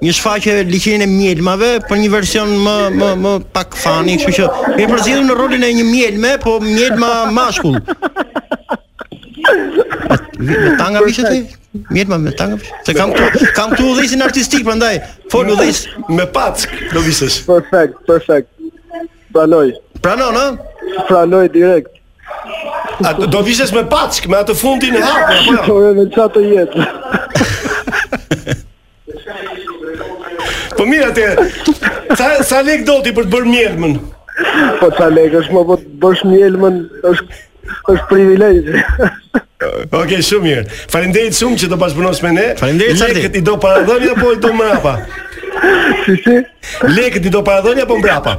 një shfaqje liçenin e mjelmave për një version më më më pak fani, kështu që kemi përzgjedhur në rolin e një mjelme, po mjelma mashkull. Vi- Me tanga vishë ti? Mjelma me tanga vishë? Se kam këtu, kam këtu udhësin artistik prandaj. Fol udhës me pack, do vishesh. Perfekt, perfekt. Pranoj. Pranon, ë? Pranoj direkt. A do- do vishesh me pack, me atë fundin e hapur apo jo? Po e me qa të jetë. Po mirë atë. Sa sa lek do ti për të bërë mjelmën? Po qa lekësh, më po të bësh mjelmën, është është privilegjë. Okej, shumë mirë. Faleminderit shumë që do bashkëpunosh me ne. Faleminderit, Sardi. Lekët i do para dhënia apo i do mbrapa? Si si? Lekët i do para dhënia apo mbrapa?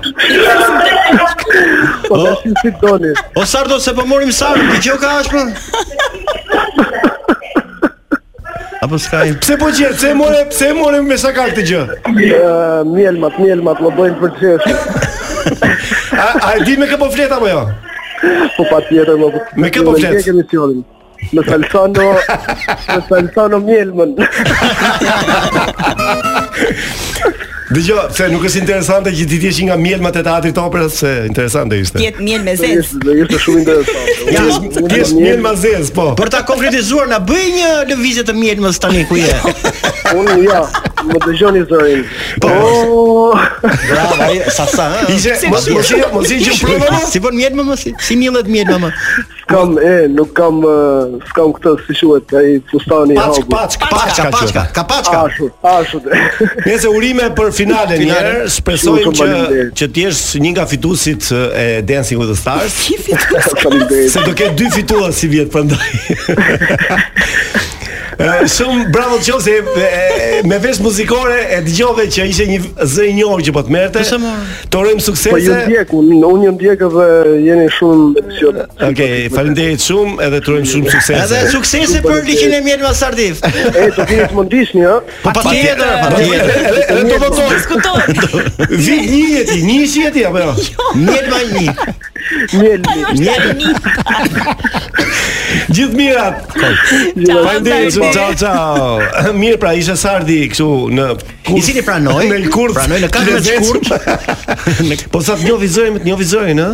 Po të si si doni. O Sardo se po morim Sardo, dëgjoj ka po? ashpër. Apo s'ka i Pse po gjet? Pse e more, pse e more me shaka këtë gjë? Ë, Eh, Mjelmat, mjelmat, më bëjnë për qeshë. A a e di me kë po flet apo jo? Po pa tjetër më Me kë po flet? Me kë misionin. Me Salsano, me Salsano mjelmën. Dëgjoj, pse nuk është interesante që ti t'jesh nga mjelmat e teatrit operës, se interesante ishte. Tjet miel me Do zez. ishte- Do ishte shumë interesant. Ti Unë- unë je- Ti je jam mjelm- mjelma zez, po. Për ta konkretizuar na bëj një lëvizje të mjelmës tani ku je. Unë ja, më dëgjoni zërin. Po. Bravo, ai sa sa. ëh. Ishe, Si- mos mos i- mos i gjë prova. Si bën mjelmë më si, si millet mjelma më. Kam e, nuk kam ë, s'kam këtë si quhet ai fustani i Paçk, hagut. paçk, paçka, paçka. ka paçka. Ashur, ashur. Nëse urime për finalen një Finalen. herë, shpresojmë Shumë që faleminderit. që të jesh një nga fituesit e Dancing with the Stars, Faleminderit. se do ketë dy fitues si vjet prandaj. Ë, Shumë bravo të qofë se e, e, me vesh muzikore e dëgjove që ishte një zë i njohur që po të merrte. Pse mo? Të Po urojmë ju suksese. ndjek, unë unë ju ndjek edhe jeni shumë emocion. Okej, faleminderit shumë edhe të urojmë shumë Edhe suksese. suksese për liçin e mjelma Sardiv. E, do vini të më ndiqni, ha? Po patjetër, patjetër. Edhe- edhe- Edhe do votoj. Diskutojmë. Vi një jeti, një ishi jeti apo jo? Mjelma një. Mjelmi. Gjithë mirat. Faleminderit shumë. Ciao ciao. Mirë pra, ishte Sardi kështu në kurth. I cili pranoi, në kurth. pranoi në 14 lezetshëm. Po sa të njoh vizorin, të njoh vizorin, ë?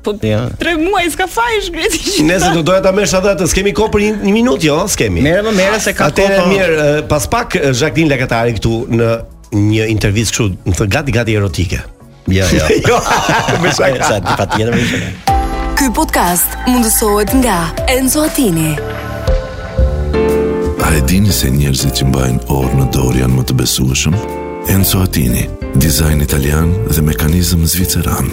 Po Ja. tre muaj s'ka fajsh shkreti. Nëse do doja ta merresh atë, atë, s'kemi kohë për një, një minutë, jo, s'kemi. Merë më merë se ka po. Atëherë mirë, ë, pas pak ë, Jacqueline Lakatari këtu në një intervistë kështu, më thënë gati gati erotike. Jo, jo. Jo, me Sa shaka. di patjetër më ishte. Ky podcast mundësohet nga Enzo Attini. A e dini se njerëzit që mbajnë orë në dorë janë më të besueshëm? Enzo Attini, dizajn italian dhe mekanizëm zviceran.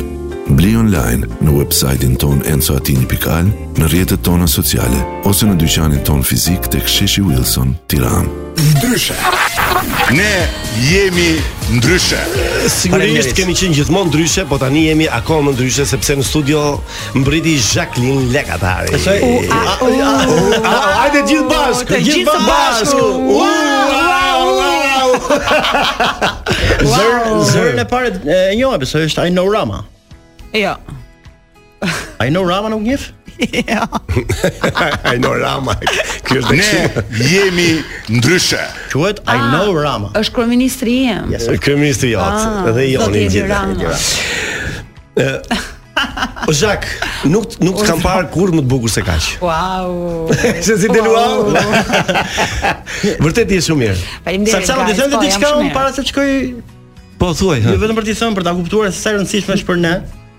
Bli online në websajtin ton enzoatini.al, në rjetët tona sociale, ose në dyqanin ton fizik të ksheshi Wilson, tiran. Ne jemi ndryshe. Sigurisht kemi qenë gjithmonë ndryshe, po tani jemi akoma ndryshe sepse në studio mbriti Jacqueline Lekatari. Hajde gjithë bashkë, të gjithë gjithë së bashkë. bashku. U, au, au. Zër, zërin e parë e njoha, besoj është Ainorama. Jo. Ainorama nuk njeh? Jo. Ai Norama. Ky është Ne jemi ndryshe. Quhet Ah. Ainorama. Është kryeministri im. kryeministri Ah, jot dhe Joni zoti Edi gjithë. Rama. O Zak, nuk nuk të kam parë kurrë më të bukur se kaq. Wow. Se si të luau. Vërtet je shumë mirë. Faleminderit. Saksa do të them guys, po, jam diçka shumë unë mirë. para se të shkoj Po thuaj. Jo vetëm për t'i thënë për ta kuptuar se sa e rëndësishme është për ne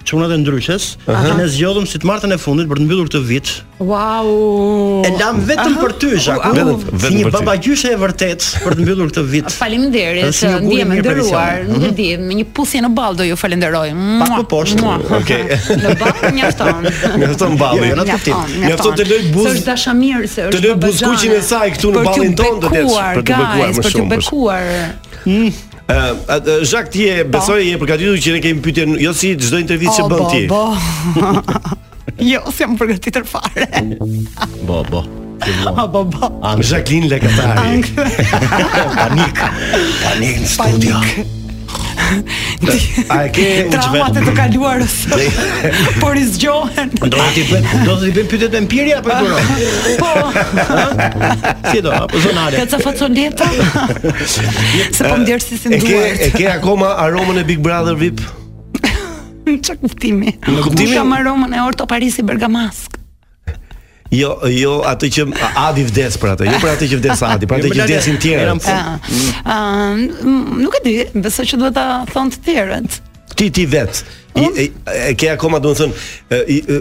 çunat e ndryshes, që ne zgjodhëm si të martën e fundit për të mbyllur këtë vit. Wow. E lam vetëm për ty, Zhaku, Vetëm- si vetëm një për ty. babagjyshe e vërtet për të mbyllur këtë vit. Edhe Faleminderit si që një gurë ndihem e mirë për nderuar. Elisianë. Nuk e di, me një puthje në ball do ju falenderoj. Pak më poshtë. Okej. Në ball mjafton. Mjafton balli. Jo, jo, në të ftim. Mjafton të loj buz- Është dashamir se është të loj babaxhane. buzkuqin e saj këtu në Për t'ju ballin tonë, do të jetë, bekuar, për t'ju bekuar guys, më Për shumë, të për shumë. bekuar. Mm. Ë, Zhak ti je, besoj je përgatitur që ne kemi pyetje jo si çdo intervistë që Po. bën O, bo, ti. bo. Jo, s'jam përgatitur fare. Po, po. filluam. Po po. Ang- Jacqueline Lekatari. Panik. Panik në studio. A e ke u Traumat e të kaluarës. por i zgjohen. Do të ti bëj, do të ti bëj pyetjet me Empiri apo e buron? Po, Si do, apo zonale. ka ca facoleta. Se po më djerë si si E ke duart. e ke akoma aromën e Big Brother VIP? Ç'a kuptimi? Në kuptimin- Kam aromën e Orto Parisi Bergamask. Jo, jo atë që a- Adi vdes për atë, jo për atë që vdes Adi, për atë që Jo, për atë- vdesin tjerët. Ah, Mm. ah, nuk e di, besoj që duhet ta thonë të tjerët. Ti ti vet. I, e, e ke akoma domethën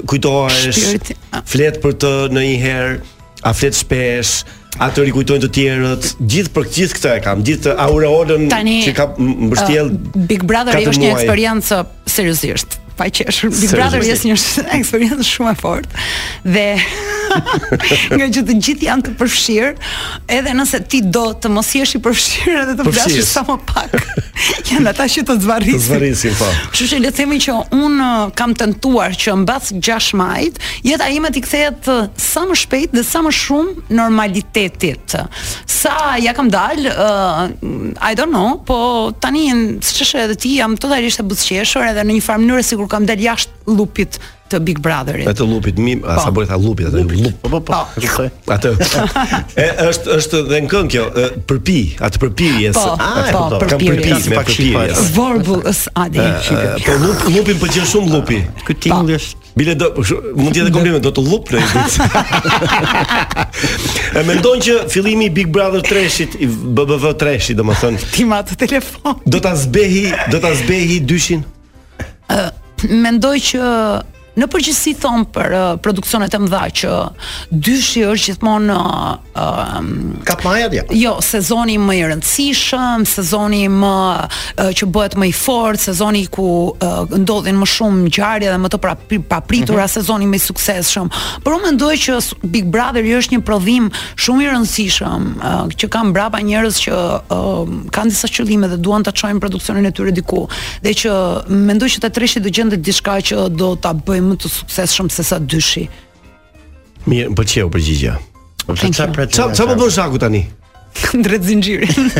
kujtohesh Shpirti. flet për të në një herë, a flet shpesh, a të rikujtojnë të tjerët. Gjithë për gjithë këtë e kam, gjithë të aureolën Tani që ka m- mbështjell. ah, Big Brother katër është një muaj. eksperiencë seriozisht pa qeshur. Big Seriozisht. Brother është një sh- eksperiencë shumë e fortë dhe nga që të gjithë janë të përfshirë, edhe nëse ti do të mos jesh i përfshirë edhe të Përfshirës. flashësh sa më pak, janë ata që të zvarrisin. Të zvarrisin, po. Kështu që le të themi që un kam tentuar që mbas 6 majit jeta ime t'i kthehet ë, sa më shpejt dhe sa më shumë normalitetit. Sa ja kam dal, uh, I don't know, po tani n- siç është edhe ti jam totalisht e buzëqeshur edhe në një farë mënyrë sikur kam dal jashtë lupit të Big Brotherit. Me të lupit mim, a Po. sa bëri tha lupit atë lup. Po po po. Atë. E është është dhe në këngë kjo, e, përpi, atë përpirjes. Po, e po, kuptova, kam përpirjes. përpi Ka si me pak përpirjes. Vorbullës Adi. E, e, Po lup, lupin pëlqen shumë lupi. Ky tingull Po. është Bile do kshu- mund të jetë kompliment, do të lup në një ditë. E mendon që fillimi i Big Brother 3-shit, i BBV 3-shit, domethënë, Ti ma atë telefon. do ta zbehi, do ta zbehi dyshin. mendoj që në përgjithësi thon për uh, produksionet e mëdha që dyshi është gjithmonë uh, um, Kapmaja dia. jo sezoni më i rëndësishëm, sezoni më uh, që bëhet më i fortë, sezoni ku uh, ndodhin më shumë ngjarje dhe më të pra, prapi- papritura, sezoni më i suksesshëm. Por unë mendoj që s- Big Brother është një prodhim shumë i rëndësishëm uh, që kanë brapa njerëz që uh, kanë disa qëllime dhe duan ta çojnë produksionin e tyre diku dhe që mendoj që ta treshi do gjendet diçka që do ta bëjë më të suksesshëm se sa dyshi. Mirë, më pëlqeu përgjigjja. Thank çfarë you. pretendon? Çfarë çfarë po bën Shaku tani? Ndret zinxhirin.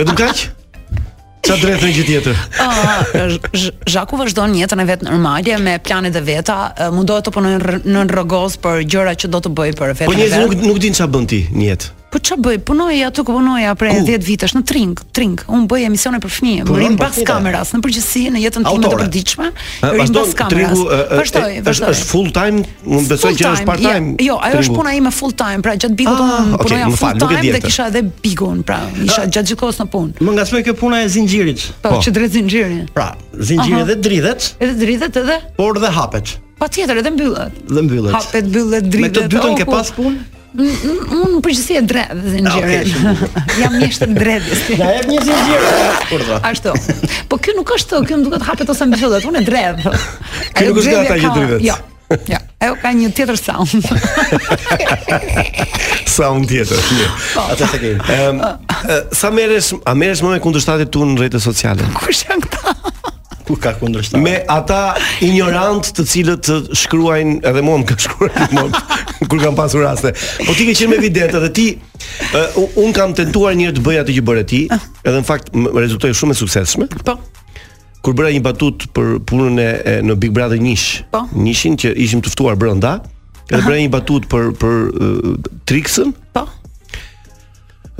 Vetëm kaq? Çfarë drejtë në gjë tjetër? Ah, Zh- Zh- Zhaku vazhdon jetën e vet normale me planet e veta, eh, mundohet të punojë rr- në rrogoz për gjëra që do të bëj për Po vetën e njerëzit vet. nuk nuk din çfarë bën ti në jetë. Po ç'a bëj? Punoj aty ku punoja prej 10 vitesh në Tring, Tring. Un bëj emisione për fëmijë, më Punon rim për pas fëmijë. kameras, në përgjithësi në jetën time të Autore. përditshme, Ë, rim pas kameras. ë, ë, Vazhdoj, ë, është vazhdoj. është full time, unë besoj që është part time. Jo, ajo është tringu. puna ime full time, pra gjatë bigut Ah, unë okay, punoja më fal, full nuk e di Ah. time dhe atë. kisha edhe bigun, pra isha gjatë gjithë kohës në punë. Më ngacmoi kjo puna e zinxhirit. Po, që drejt zinxhirin. Pra, zinxhiri Aha. dhe dridhet, Edhe dridhet edhe por dhe hapet patjetër edhe mbyllet. dhe mbyllet. Hapet, mbyllet, Me dridhet. të dytën oh, ke po. pas punë? N- n- Unë në përgjithësi e dredh Ah, okay, zinxhirin. shumë Jam mjeshtër dredhës. Na jep një zinxhir. Kurdo. Ashtu. Po ky nuk është, ky më duket hapet ose mbyllet. Unë e dredh. Ky nuk është Ajo nga dredhja ata që ka- dridhet. Jo. Ja, ajo ka një tjetër sound. Sa unë tjetër. mirë. Po. Atë se kemi. Ëm ë, sa merresh, a merresh më me kundërshtatit tu në rrjetet sociale? Kush janë këta? Ku ka kundërshtar? Me ata ignorant të cilët të shkruajnë edhe mua më ka shkruar më kur kam pasur raste. Po ti ke qenë me vidente dhe ti ë, u- un kam tentuar një herë të bëj atë që bëre ti, edhe në fakt më rezultoi shumë e suksesshme. Ah. Po. kur bëra një batut për punën e, e në Big Brother Nish. Po. Nishin që ishim të ftuar brenda, edhe bëra një batut për për uh, Trixën Po.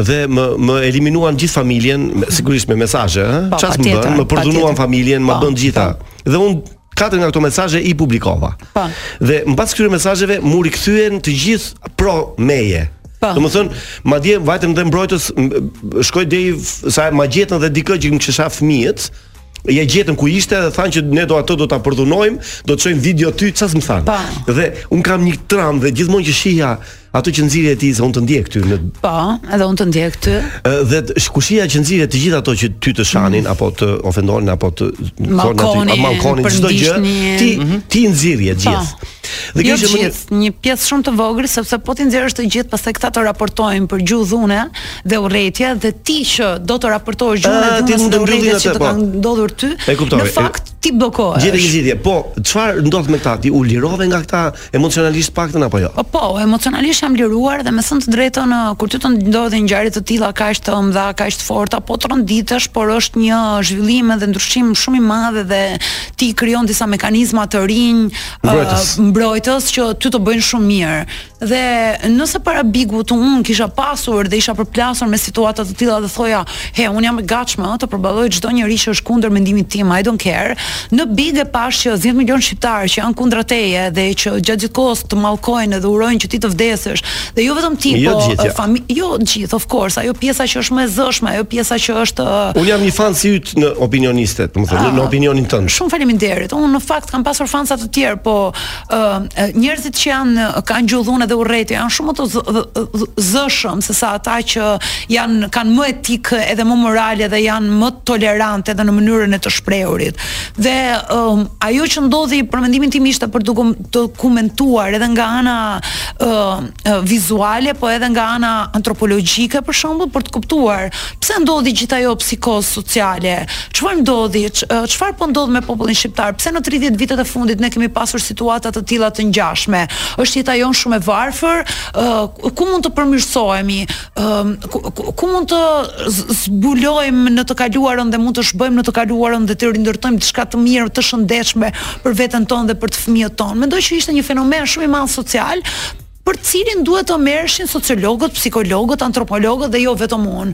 dhe më më eliminuan gjithë familjen, me- sigurisht me mesazhe, ëh. Po, Çfarë më patjetër, bën? Më përdhunuan patjetër. familjen, më Po, bën gjitha. Dhe un katër nga këto mesazhe i publikova. Po. Dhe mbas këtyre mesazheve mu rikthyen të gjithë pro meje. Po. Domethën, madje vajtën dhe mbrojtës m- shkoi deri f- sa ma gjetën dhe dikë që më kisha fëmijët, ja gjetën ku ishte dhe thanë që ne do ato do ta përdhunojmë, do të çojmë video ty, çfarë më thanë. Po. Dhe un kam një tram dhe gjithmonë që shihja ato që nxirje e ti se un të ndjej këty në Po, edhe unë të ndjej këtë. Ë, dhe t- sh- kushia që nxirje të gjitha ato që ty të shanin Mm. apo të ofendonin apo të Mallkonin, apo mallkonin çdo gjë, përndishnin. ti ti nxirje të gjithë. Dhe Mhm. Jo kishte më një gjithë, një pjesë shumë të vogël sepse po ti nxjerrësh të gjithë, pastaj këta të raportojnë për gjuhëdhune dhe urretje dhe ti që do të raportosh Ah, gjuhën e ti dhunës mund të dhe mbyllin urrjetjet atë, që të po. kanë ndodhur ty. E kuptoj, Në e- fakt ti blokohesh. Gjetë një zgjidhje. Po, çfarë ndodh me këta? Ti u lirove nga këta emocionalisht paktën apo jo? Po, po, emocionalisht jam liruar dhe me thënë të drejtën ë, kur ty të ndodhin ngjarje të tilla kaq të mëdha, kaq të forta, po të rënditesh, por është një zhvillim dhe ndryshim shumë i madh dhe ti krijon disa mekanizma të rinj ë, Mbrojtës. mbrojtës që ty të bëjnë shumë mirë. Dhe nëse para bigu të unë kisha pasur dhe isha përplasur me situata të tilla dhe thoja, "He, unë jam e gatshme ë, të përballoj çdo njerëz që është kundër mendimit tim, I don't care." Në Big e pash që 10 milion shqiptarë që janë kundra teje dhe që gjatë gjithkohës të mallkojnë dhe urojnë që ti të vdesësh. Dhe jo vetëm ti, Jo po të gjithë, ja. fami- jo të gjithë, of course, ajo pjesa që është më e zëshme, ajo pjesa që është ë, Unë jam një fan si yt në opinioniste, domethënë Ah. në opinionin tënd. Shumë faleminderit. Unë në fakt kam pasur fansa të tjerë, po ë ë, njerëzit që janë kanë gjudhun edhe urrëti, janë shumë më të zë- dhë- dhë- zëshëm sesa ata që janë kanë më etikë edhe më morale dhe janë më tolerante edhe në mënyrën e të shprehurit. Dhe ëm, ajo që ndodhi për mendimin tim ishte për dukum- të komentuar edhe nga ana ë, ë, vizuale, po edhe nga ana antropologjike për shembull për të kuptuar pse ndodhi gjithë ajo psikoz sociale, çfarë ndodhi, ç- ë, çfarë po ndodh me popullin shqiptar, pse në 30 vitet e fundit ne kemi pasur situata të tilla të ngjashme. Është jeta jon shumë e varfër, ë, ku mund të përmirësohemi, ë, ku, ku- ku mund të z- zbulojmë në të kaluarën dhe mund të shbëjmë në të kaluarën dhe të rindërtojmë diçka të mirë, të shëndetshme për veten tonë dhe për të fëmijët tonë. Mendoj që ishte një fenomen shumë i madh social, për cilin duhet të merreshin sociologët, psikologët, antropologët dhe jo vetëm unë.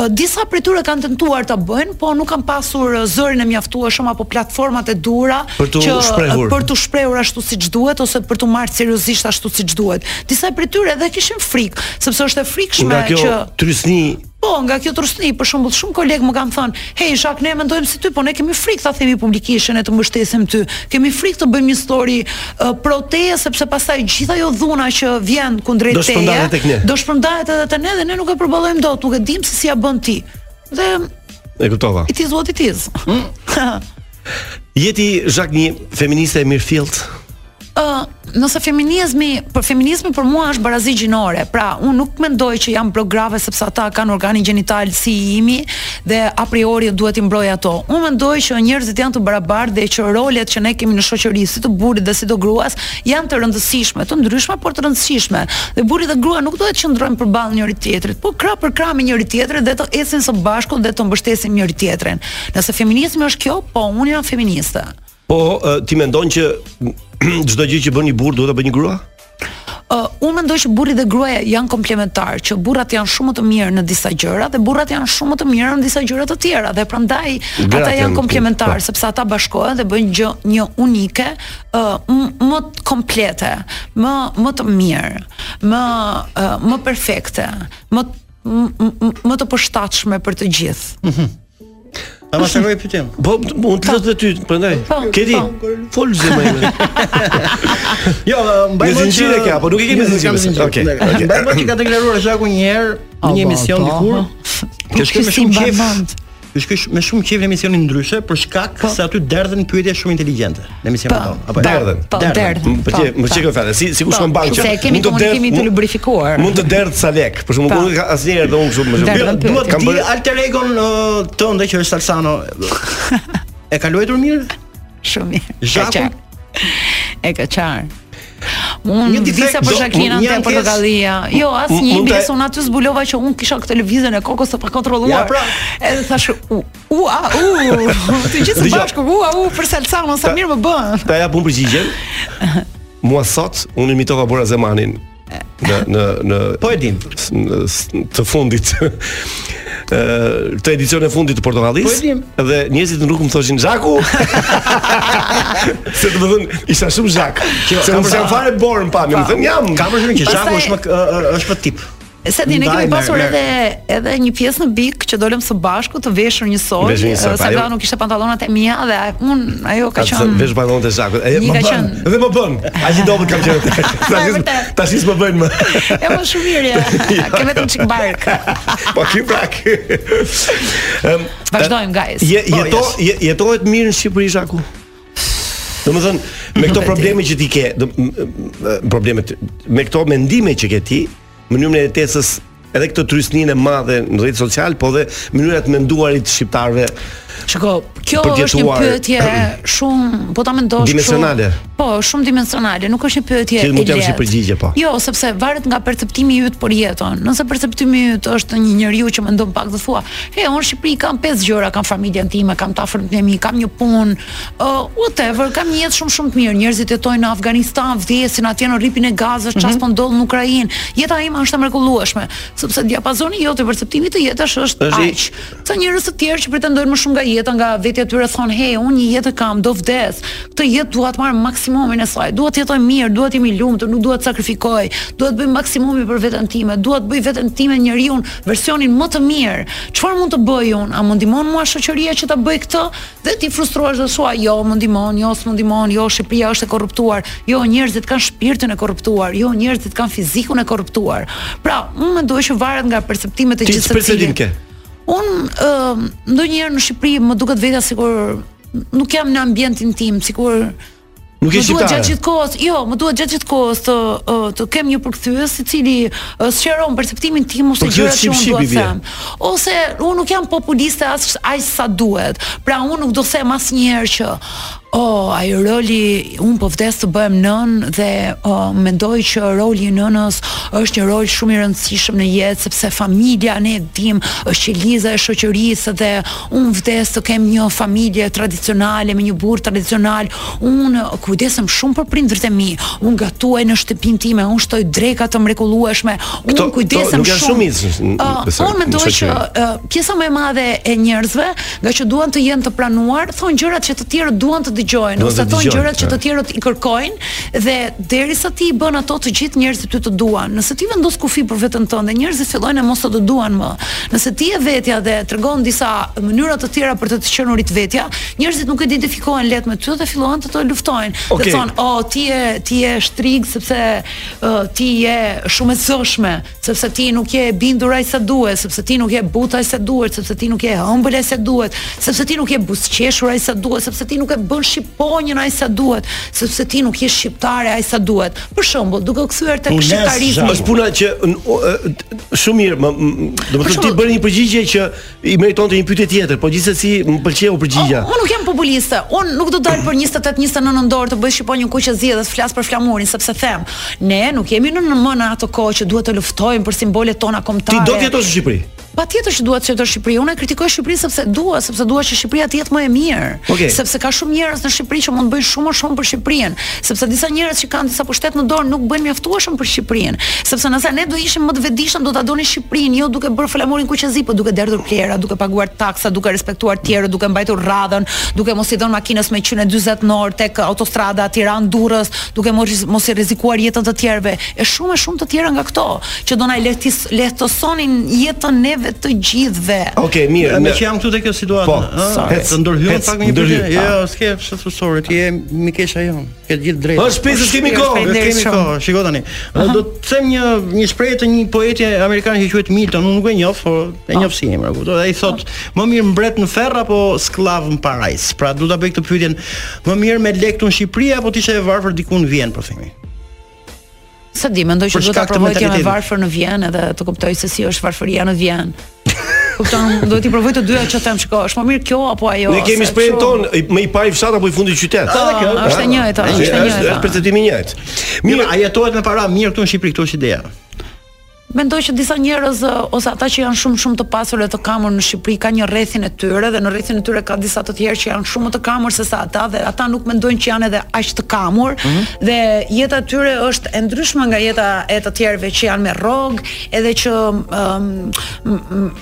Ë, Disa prej tyre kanë tentuar ta bëjnë, po nuk kanë pasur ë, zërin e mjaftueshëm apo platformat e duhura Për t'u ë, shprehur. për të shprehur ashtu siç duhet ose për të marrë seriozisht ashtu siç duhet. Disa prej tyre edhe kishin frikë, sepse është e frikshme Nga kjo që trysni Po, nga kjo trusni, për shembull, shumë kolegë më kanë thënë, "Hey, Shak, ne mendojmë si ty, po ne kemi frikë ta themi publikisht që ne të mbështesim ty. Kemi frikë të bëjmë një story uh, pro teje sepse pastaj gjithë ajo dhuna që vjen kundrejt Do teje shpërndahet tek ne." do shpërndahet edhe te ne dhe ne nuk e përballojmë dot, nuk e dim se si ja bën ti. Dhe e kuptova. it is what it is. Ë, Jeti Zhak një feministe e mirëfillt. nëse feminizmi, për feminizmi për mua është barazi gjinore. Pra, unë nuk mendoj që jam prograve sepse ata kanë organin gjinital si i imi dhe a priori duhet i mbroj ato. Unë mendoj që njerëzit janë të barabartë dhe që rolet që ne kemi në shoqëri, si të burrit dhe si të gruas, janë të rëndësishme, të ndryshme, por të rëndësishme. Dhe burri dhe grua nuk duhet që ndrojnë përballë njëri tjetrit, po krah për krah me njëri tjetrin dhe të ecin së bashku dhe të mbështesin njëri tjetrin. Nëse feminizmi është kjo, po unë jam feministe. Po e, ti mendon që çdo gjë që bën një burr duhet ta bëjë një grua? Uh, unë mendoj që burri dhe gruaja janë komplementar, që burrat janë shumë më të mirë në disa gjëra dhe burrat janë shumë më të mirë në disa gjëra të tjera dhe prandaj Gratë ata janë janë komplementar po. sepse ata bashkohen dhe bëjnë gjë një unike, uh, m- më të komplete, më më të mirë, më uh, më perfekte, më m- m- më të përshtatshme për të gjithë. A ma shkoj pyetjen. Po unë të lë dhe ty, prandaj. Po. Keti, fol zemë ime. Jo, ë, mbaj mend Me që- zinxhire kja, po nuk e kemi Jo, s'kam zinxhire. zinxhir. Okej, okej. Mbaj mend që ka deklaruar Shaku një herë në një Abo, emision po. dikur. Kjo Kjo shkoj me si shumë mbaj qef. mend. Kjo shkoj sh- me shumë qef në emisionin ndryshe për shkak se aty derdhen pyetje shumë inteligjente në emisionin jo? tonë. Po, Po, derdhen. Po, derdhen, Po ti, po, më po. çikoj fjalë, si si ku Po, shkon bankë. se kemi komunikimin të lubrifikuar. Mund të derdh sa lek, për shembull, Po. unë ka- asnjëherë dhe unë kështu më Derdhen shumë. Jo, pyetje. Duhet di alter egon ë, tënde që është Salsano. E ka luajtur mirë? Shumë mirë. Zhaku? Ka qarë. E ka qarë. Unë Një ditë disa për do- Shaklinën një te ankesë- Portokallia. Jo, asnjë Mund ta- pjesë unë aty zbulova që unë kisha këtë lëvizjen e kokës të pakontrolluar. Ja, pra. Edhe thash u u a u. Të gjithë së Dgjoj. bashku u a u për Salsano sa mirë më bën. Ta jap unë përgjigjen. Mua sot unë imitova Bora Zemanin në në në Po e dim. Të fundit. Ë të edicion e fundit të Portokallis. Po e dim. Dhe njerëzit në rrugë më thoshin Zhaku. se do të thonë isha shumë Zhak. Kjo, Se kam unë përshtypjen- jam fare borën pa, më thënë jam. Ka përshtypjen që Shaku Pastaj- është më k- ë, ë, është më tip. Se ti ne Ndaj, kemi merr, pasur merr. edhe edhe një pjesë në Bik që dolëm së bashku të veshur njësoj. Veshur njësoj, eh, pa, Sa ajo- ka nuk ishte pantallonat e mia dhe a- unë ajo ka Ka të qenë vesh ballonët e Zhakut. E, Një më ka bën. qenë- Dhe më bën. A i dobët kam qenë. Tash vërtet. tash s'më bën më. E më shumë mirë. ja. Ke vetëm çik bark. Po ki prak. Ëm Vazhdojmë guys. Je, Po, jeto, yes. je, jetohet mirë në Shqipëri Zhaku. Domethënë, me këto e di. probleme që ti ke, do, m- m- problemet me këto mendime që ke ti, mënyrën e jetesës edhe këtë trysninë e madhe në rrjetet social, po dhe mënyrat e menduarit të shqiptarëve Shiko, kjo është një përgjetuar- pyetje shumë, po ta mendosh kështu. Dimensionale. Po, shumë dimensionale, nuk është një pyetje Që e mund të japësh një lehtë. përgjigje, po. Jo, sepse varet nga perceptimi i yt për jetën. Nëse perceptimi i yt është një njeriu që mendon pak dhe thua, "He, unë në Shqipëri kam pesë gjëra, kam familjen time, kam të afërmit e mi, kam një punë, uh, whatever, kam një jetë shumë shumë të mirë. Njerëzit jetojnë në Afganistan, vdesin atje në rripin e Gazës, çfarë po ndodh në Ukrainë. Jeta ime është e mrekullueshme, sepse diapazoni jot i perceptimit të jetës është Është i- aq. Ca njerëz të tjerë që pretendojnë më shumë nga jeta, nga vetja e tyre thonë, "Hey, unë një jetë e kam, do vdes. Këtë jetë dua të marr maksimumin e saj. Dua të jetoj mirë, dua të jem i lumtur, nuk dua të sakrifikoj. Dua të bëj maksimumin për veten time. Dua të bëj veten time njeriu versionin më të mirë. Çfarë mund të bëj unë? A më ndihmon mua shoqëria që ta bëj këtë?" Dhe ti frustrohesh dhe thua, "Jo, më ndihmon, jo, s'më ndihmon, jo, Shqipëria është e korruptuar. Jo, njerëzit kanë shpirtin e korruptuar. Jo, njerëzit kanë fizikun e korruptuar." Pra, unë mendoj që varet nga perceptimet e Ti gjithë çfarë secili. perceptim ke? Un uh, ndonjëherë në Shqipëri më duket vetja sikur nuk jam në ambientin tim, sikur Nuk je Më duhet shqiptare. gjatë gjithë kohës, jo, më duhet gjatë gjithë kohës të ë, të kem një përkthyes i cili ë, sqaron perceptimin tim ose Po kjo gjërat që unë shqip-shqip dua i të bie. them. Ose unë nuk jam populiste as aq sa duhet. Pra unë nuk do të them asnjëherë që Oh, ai roli un po vdes të bëhem nën dhe oh, mendoj që roli i nënës është një rol shumë i rëndësishëm në jetë sepse familja ne e dim është qeliza e shoqërisë dhe un vdes të kem një familje tradicionale me një burr tradicional. Un kujdesem shumë për prindërit e mi. Un gatuaj në shtëpinë time, un shtoj dreka të mrekullueshme. Un Këto- këto kujdesem nuk janë shumë shumë. izë, n- Ë, besoj, unë në mendoj që shoqëri. ë, pjesa më e madhe e njerëzve, nga që duan të jenë të pranuar, thonë gjërat që të tjerë duan të dëgjojnë, Duan ose të thonë dëgjojnë, gjërat që po. të tjerët i kërkojnë dhe derisa ti i bën ato të gjithë njerëzit ty të duan. Nëse ti vendos kufi për veten tënde, njerëzit fillojnë e mos të të duan më. Nëse ti e vetja dhe tregon disa mënyra të tjera për të të qenurit vetja, njerëzit nuk identifikohen lehtë me ty dhe fillojnë të të luftojnë. Okej. Dhe thonë, "Oh, ti je ti je shtrig sepse uh, ti je shumë e zëshme, sepse ti nuk je e bindur ai sa duhet, sepse ti nuk je buta ai sa duhet, sepse ti nuk je e ëmbël ai sa duhet, sepse ti nuk je buzqeshur ai sa duhet, sepse ti nuk e bën shqiponjën ai sa duhet, sepse ti nuk je shqiptare ai sa duhet." Për shembull, duke u kthyer tek shqiptarizmi. Është puna që n- o, e, t- shumë mirë, më- m- domethënë ti bëri një përgjigje që i meritonte një pyetje tjetër, po gjithsesi më pëlqeu përgjigjja. Unë nuk jam populiste. Unë nuk do dal për 28 29 nëntor të bëj shqipon një kuqe zgjedhje dhe të flas për flamurin, sepse them, ne nuk jemi në në më në atë kohë që duhet të luftojmë për simbolet tona Ti kombëtare. do të jetosh në Shqipëri. Patjetër që duhet të jetë Shqipëri. Unë e kritikoj Shqipërinë sepse dua, sepse dua që Shqipëria të jetë më e mirë. Okej. Sepse ka shumë njerëz në Shqipëri që mund të bëjnë shumë më shumë për Shqipërinë, sepse disa njerëz që kanë disa pushtet në dorë nuk bëjnë mjaftueshëm për Shqipërinë, sepse nëse ne do ishim më të vetëdijshëm do ta donin Shqipërinë, jo duke bërë flamurin kuqezi, po duke derdhur plera, duke paguar taksa, duke respektuar tjerë, duke mbajtur radhën, duke mos i dhënë makinës me 140 në orë tek autostrada Tiranë-Durrës, duke mos mos i rrezikuar jetën të tjerëve. E shumë e shumë të tjera nga këto që do na lehtis lehtësonin jetën neve të gjithëve. Okej, mirë. Me ne- që jam këtu te kjo situatë. Po, ë, sorry. të ndërhyem Hec, pak me një ndërhy, pyetje. pa. Jo, s'ke çfarë sorry, ti je mikesha jon. Ke të gjithë drejtë. Është pjesë, s'kemi Është kohë. pjesë, Është Kemi shumë. kohë. Shiko tani. ë, Aha. Do të them një një shprehje të një poeti amerikan që quhet Milton, unë nuk e njoh, por e njoh si emër. kupton? Ai thotë, "Më mirë mbret në ferr apo sklav në parajs." Pra, do ta bëj këtë pyetjen, më mirë me lek këtu në Shqipëri apo ti ishe e varfër diku në Vjenë, po themi. Sa di, mendoj që Për do ta shkak të provoj të jem e mentalitetit. varfër në Vjenë edhe të kuptoj se si është varfëria në Vjenë. Kupton, do t'i provoj të dyja që them shiko, është më mirë kjo apo ajo. ne kemi se shprehën kështu. ton, i- më i pari fshat apo i fundi i qytet. Po, Edhe kjo, është e a? njëjta, është e njëjta. Është perceptimi i njëjtë. Mirë, a jetohet me para mirë këtu në Shqipëri, këtu është ideja. Pra, Mendoj që disa njerëz ë, ose ata që janë shumë shumë të pasur dhe të kamur në Shqipëri kanë një rrethin e tyre dhe në rrethin e tyre ka disa të tjerë që janë shumë më të kamur se sa ata dhe ata nuk mendojnë që janë edhe aq të kamur dhe jeta e tyre është e ndryshme nga jeta e të tjerëve që janë me rrog edhe që ëm um,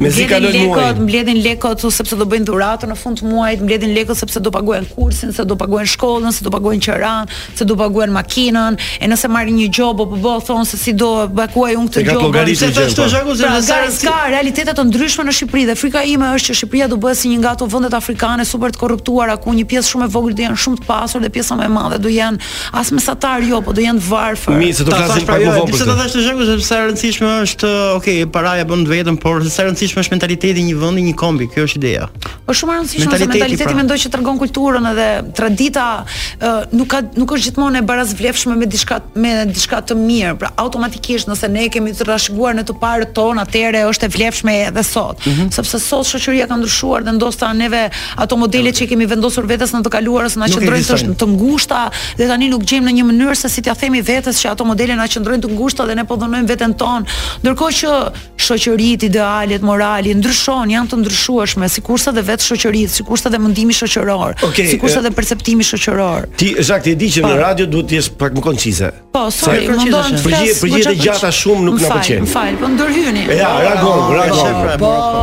Me zi kalojnë lekët, muajin. mbledhin lekët ose sepse do bëjnë dhuratë në fund të muajit, mbledhin lekët sepse do paguajnë kursin, se do paguajnë shkollën, se do paguajnë qeran, se do paguajnë makinën, e nëse marrin një gjob apo po thonë se si do paguaj unë Se këtë ka gjob. llogaritë Pse thash gjë, të po. Zhaku, se Pra, në ka, Sarandë- ka realitete të ndryshme në Shqipëri dhe frika ime është që Shqipëria do bëhet si një nga ato vendet afrikane super të korruptuara ku një pjesë shumë e vogël do janë shumë të pasur dhe pjesa më e madhe do janë as mesatar jo, po do janë të varfër. Mi, se do Ta flasim thash pra pak më jo, vonë e di për pse këtë. ta thash të Zhaku sepse e rëndësishme është, okay, paraja bën vetëm, por se sa e rëndësishme është mentaliteti i një vendi, një kombi, kjo është ideja. Është shumë e rëndësishme se Mentaliteti, mentaliteti pra. mendoj që tregon kulturën edhe tradita ë, nuk ka nuk është gjithmonë e barazvlefshme me diçka me diçka të mirë. Pra automatikisht nëse ne kemi kemi të rashguar në të parët tonë, atëherë është e vlefshme edhe sot. Mhm. Sepse sot shoqëria ka ndryshuar dhe ndoshta neve ato modelet që i kemi vendosur vetes në të kaluarës na Nuk qëndrojnë të, ekzistojnë. të ngushta dhe tani nuk gjejmë në një mënyrë se si t'ia themi vetes që ato modele na qëndrojnë të ngushta dhe ne po dhunojmë veten tonë. Ndërkohë që shoqëritë, idealet, morali ndryshon, janë të ndryshueshme, sikurse edhe vetë shoqëritë, sikurse edhe mendimi shoqëror, Okej, sikurse e- edhe perceptimi shoqëror. Ti Zak ti e di që në Po. radio duhet të jesh pak më koncize. Po, sorry, Sa- më ndonë të Përgjigje flas përgjigjet e goxha- gjata shumë nuk Më na fal, pëlqejnë. Më fal, po ndërhyni. E, Ja, ragon, ragon. Po,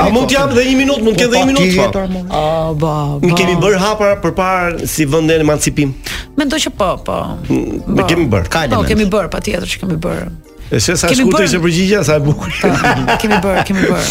A mund t'jam edhe 1 minutë, mund të edhe 1 minutë. po. Ah, ba. Ne kemi bërë hapa përpara si vend në emancipim. Mendoj që po, po. Ne Po. kemi bërë. Po, kemi bër, patjetër që kemi bër. E se sa Kemi shkurtër bërë- ishte përgjigjja, sa e bukur. Kemi bër, kemi bër.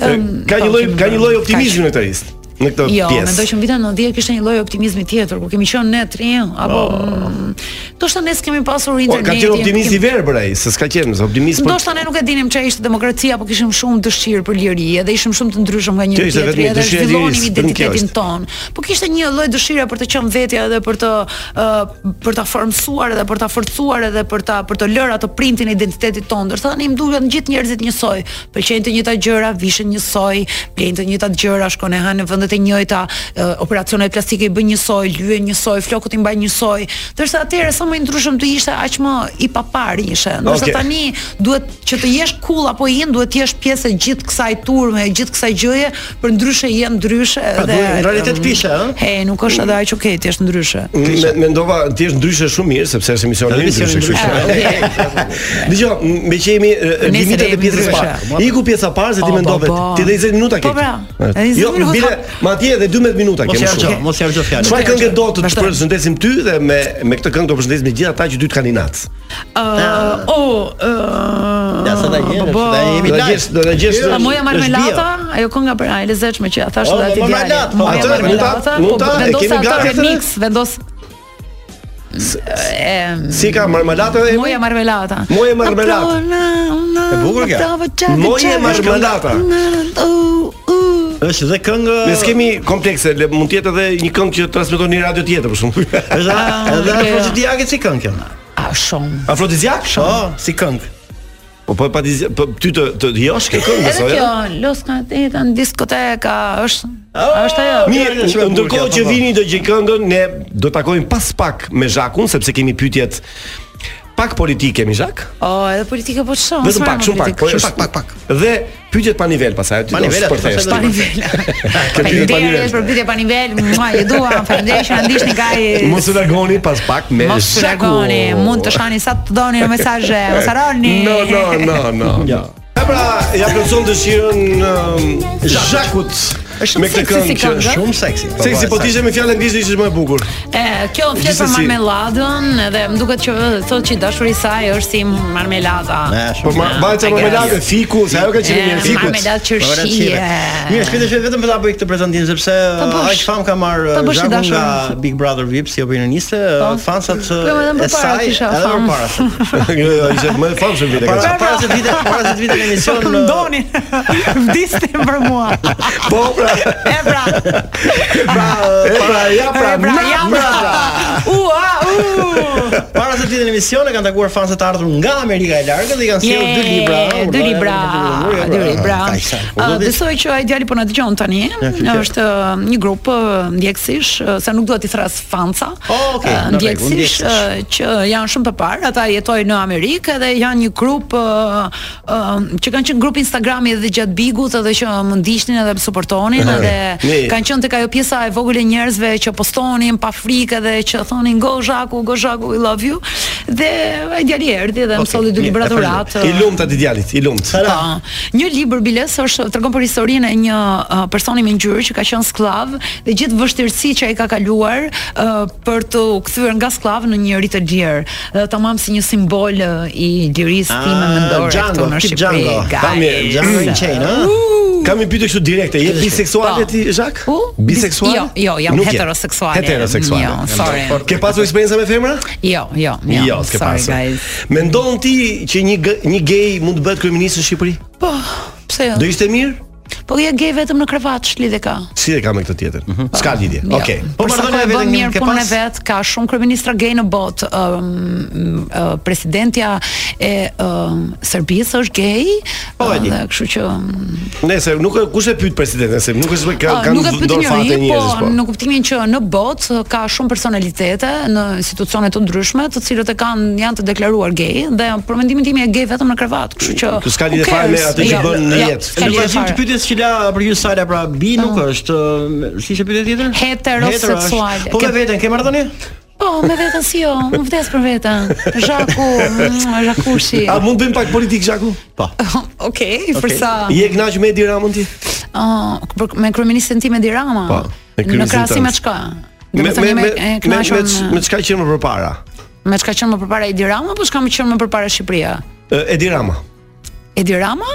Ëm, Ka po, një lloj kemi ka bërë. një lloj optimizmi në këtë list, në këtë Jo, mendoj pjesë. që në vitin 90 kishte një lloj optimizmi tjetër, ku kemi qenë ne tre apo mm, ndoshta ne s'kemi pasur Po, internetin. ka qenë optimist i kemi- verbër ai, se s'ka qenë se optimist për Ndoshta ne nuk e dinim çfarë ishte demokracia, po kishim shumë dëshirë për liri, edhe ishim shumë të ndryshëm nga Kjo po njëri ishte tjetri, vetëm edhe dëshira e zhvillonim lirisë, vetëm kjo identitetin është. ton. Po kishte një lloj dëshire për të qenë vetja edhe për të ë, për ta formsuar edhe për ta forcuar edhe për ta për të lërë atë printin e identitetit ton. Ndërsa tani më duket gjithë njerëzit njësoj, pëlqejnë të njëjtat gjëra, vishin njësoj, blejnë të njëjtat gjëra, shkon e hanë në vendet e njëjta, ë, operacionet plastike i bën njësoj, lyhen njësoj, flokët i mbajnë njësoj. Ndërsa atëherë sa më i ndryshëm të ishte, aq më i papar ishe. Ndërsa Okej. tani duhet që të jesh cool apo in, duhet të jesh pjesë e gjithë kësaj turme, e gjithë kësaj gjëje, për ndryshe je ndryshe Pra, duhet në realitet pishe, ë? He, nuk është edhe ajo që ke, ti je ndryshe. Me- Mendova ti je ndryshe shumë mirë sepse është emisioni Edhe i ndryshe, emisioni kështu ndryshe. që. Dgjoj, me që jemi e, Nesër limitet e jemi pjesës ndryshe. parë. Iku pjesa parë se ti Po, po, mendove po. ti edhe 20 minuta ke. Po, pra. Edhe 20 Jo, minuta. bile, ma atje edhe 12 minuta Mos kemi jargjo, shumë. mos jargjo fjalën. Çfarë këngë do të të Vazhdojmë. përshëndesim ty dhe me me këtë këngë do përshëndesim me gjithë ata që dy të kanë inat. Ë, o, ë. Ja, sa ta gjeni, po, po. sa ta jemi Do ta live. gjesh, do ta gjesh. A moja marmelata, ajo kënga për ai lezetshme që ja thash O, edhe atë marmelat, djalë. po, Moja atë mund ta- marmelata, mund po ta- e vendos kemi atë gati atë? remix, vendos Si ka marmelata e moja marmelata. Moja marmelata. E bukur kjo. Moja marmelata. Është dhe këngë Ne s'kemi komplekse, le- mund të jetë edhe një këngë që transmeton një radio tjetër për shembull. Është Ah, edhe ok. afrodiziake si këngë kjo. A shumë. Afrodiziak? Po, si këngë. Po po pa dizi- po ty të të josh kë këngë Edhe besoj. kjo, ja? Los Canteta në diskoteka, është është ajo. Mirë, Shumë e bukur ndërkohë kjo, që po, po. vini do gjej këngën, ne do takojmë pas pak me Zhakun sepse kemi pyetjet pak politike me Zhak. O, edhe politika po çon. Vetëm pak, shumë pak, po Po, shumë pak, pak. Dhe pyetjet pa nivel pasaj, ti Pa do nivel, të atë përthesh. pastaj po, do Kjo pyetje pa Faleminderit nivel. për pyetje pa nivel. Mua ju dua, faleminderit që na ndiqni Mos kaj. u largoni pas pak me Mos Zhakun. shkoni, mund të shani sa të doni në mesazhe, mos harroni. No, no, no, no. Ja. E pra, ja plotson dëshirën um, Zhakut Është shumë me këtë seksi si këngë që këngë. Shumë seksi. po, Seksi, po, po ti ishe me fjalën anglisht ishte më e bukur. E, kjo flet për Gjithsesi- marmeladën edhe më duket që thotë që dashuria e saj është si marmelada. Ne, Po shumë. ma vajca I marmeladë guess. fiku, se ajo ka qenë një Ah, E, fikut. Ora Marmeladë çive. qershie. Mirë, shpejt e shpejt vetëm për ta bëj këtë prezantim sepse uh, bësh. aq fam ka marr Ta bësh i Zhaku dashur. nga Big Brother VIP si opinioniste, uh, Po. fansat uh, Po, edhe më e përpara saj kisha edhe më fam. para. se- Jo, jo, ishte më e famshëm vite ka Para qenë. para se vite, para se vite në Po emision. uh, këndoni. Vdisni për mua. Po pra, E pra. Pra, e uh, pra, ja pra, E pra, na ja pra. Ua, u. Para se të vitin në emision e kanë takuar fansët të ardhur nga Amerika e Largët dhe i kanë sjellë dy Je, libra. Dy urdhëre, libra, urdhëre, dy urdhëre, libra. kaq, sa, Ah, urdhëre. Besoj që ai djali po na dëgjon tani. kjo. Është eh, një grup eh, ndjekësish, eh, se nuk duhet i thras fanca. Oh, okay, eh, në rregull, Ndjekësish ndjekësish. eh, që janë shumë të parë, ata jetojnë në Amerikë dhe janë një grup eh, eh, që kanë qenë grup Instagrami edhe gjatë Bigut edhe që më ndiqnin edhe më suportonin edhe mirë. kanë qenë tek ajo pjesa e vogël e njerëzve që postonin pa frikë dhe që thonin go Zhaku, go Zhaku, I love you. Dhe ai djali erdhi dhe më Okay, solli mirë, dy libra e përgjigj. dhuratë. I lumt atë djalit, i lumt. Tara. Po. Një libër biles është tregon për historinë e një uh, personi me ngjyrë që ka qenë sklav dhe gjithë vështirësitë që ai ka kaluar uh, për të u kthyer nga sklav në një njerëz të lirë. Uh, tamam si një simbol uh, i lirisë Ah, time mendore Django, këtu në tip Shqipëri. Uh, Django. guys. Tam je, Django in Chain, ha? Kam një pyetje kështu direkte, je biseksuale Po. ti, Zhak? U? Biseksual? Jo, jo, jam Nuk je. heteroseksuale. Heteroseksuale. Jo, sorry. Ke pasur eksperienca me femra? Jo, jo, jo. Jo, s'ke sorry, pasur. guys. Mendon ti që një g- një gej mund të bëhet kryeminist në Shqipëri? Po, pse jo? Do ishte mirë? Po ja ge vetëm në krevat shlidhe ka. Si e ka me këtë tjetër? Mhm. S'ka lidhje. Ja. Okej. Po marrdhënia vetëm vetëm mirë ke punën e pas? vet, ka shumë kryeministra gay në botë. Ëm ë, presidentja e ëm, Serbisë është gay. Po, e di. dhe Kështu që Nëse nuk e- kush e pyet presidentin se nuk është ka Ë, kanë Po, nuk e pyeti dorë fate njëri, njerëz po po. në kuptimin që në botë ka shumë personalitete në institucione të ndryshme, të cilët e kanë janë të deklaruar gay dhe për mendimin tim e gay vetëm në krevat, kështu që Jo, Kjo s'ka lidhje fare me atë që bën në jetë. Ka një vazhdim të pyetjes që la për ju Sala pra bi nuk Po. është ë, si ishte pyetja tjetër? Heteroseksuale. Hetero është. Po me Ke- veten ke marrdhënie? Po, me veten si jo, unë vdes për veten. Zhaku, mm, Zhakushi. A mund bëjmë pak politik Zhaku? Po. Okej, për sa Je kënaq me Edi Ramën ti? Ë, për- me kryeministin tim Edi Rama. Po, me Në kryeministin krahasim tënd. me çka? Do të thënë me e me kënaqur me ç- me çka që më përpara. me çka qenë më përpara Edi Rama apo çka më qenë më përpara Shqipëria? Ë, Edi Rama. Edi Rama?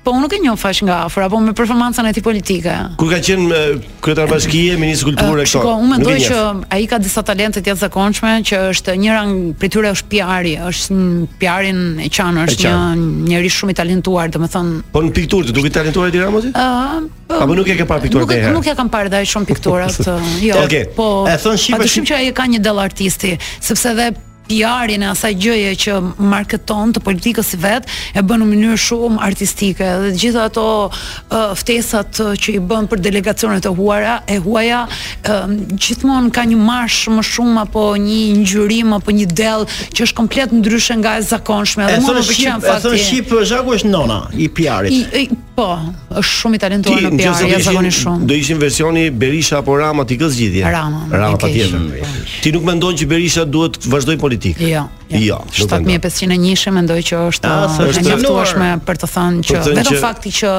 Po unë nuk e njoh fash nga afër, apo me performancën e tij politike. Kur ka qenë e, kryetar bashkie, ministër kulture Ë, këto. Shiko, unë nuk i mendoj njeh. që ai Um, ka disa talente të jashtëzakonshme që është njëra ng- prej tyre është PR-i, është PR-in e qanë, është një qanë. njeri shumë i talentuar, domethënë Po në pikturë të duket talentuar Edi Rama ti? ë po- Apo nuk e ke parë pikturën Nuk e- ndonjëherë? Nuk ja kam parë dhe shumë pikturat. ë, jo. Okej. Po. E thon shqipe- Patyshim që ai ka një dall artisti, sepse edhe PR-in e asaj gjëje që marketon të politikës si vet e bën në mënyrë shumë artistike dhe të gjitha ato ë, ftesat ë, që i bën për delegacionet e huaja e huaja ë, gjithmonë ka një marsh më shumë apo një ngjyrim apo një dell që është komplet ndryshe nga e zakonshme E dhe mua thon më pëlqen shqip, e fakti thon shqip uh, Zhaku është nona i I, PR-it. i, po, është shumë i Ti talentuar në nëse PR, do ja ishin- zakonisht shumë. Do ishin versioni Berisha apo Rama ti kë zgjidhje? Rama, Rama e keq. patjetër. Ti nuk mendon që Berisha duhet të vazhdoj politikë? Jo. Jo, nuk mendoj. 7501 mendoj që është Ah, uh, s'është e mjaftueshme për të thënë që Për të thënë vetëm që- fakti që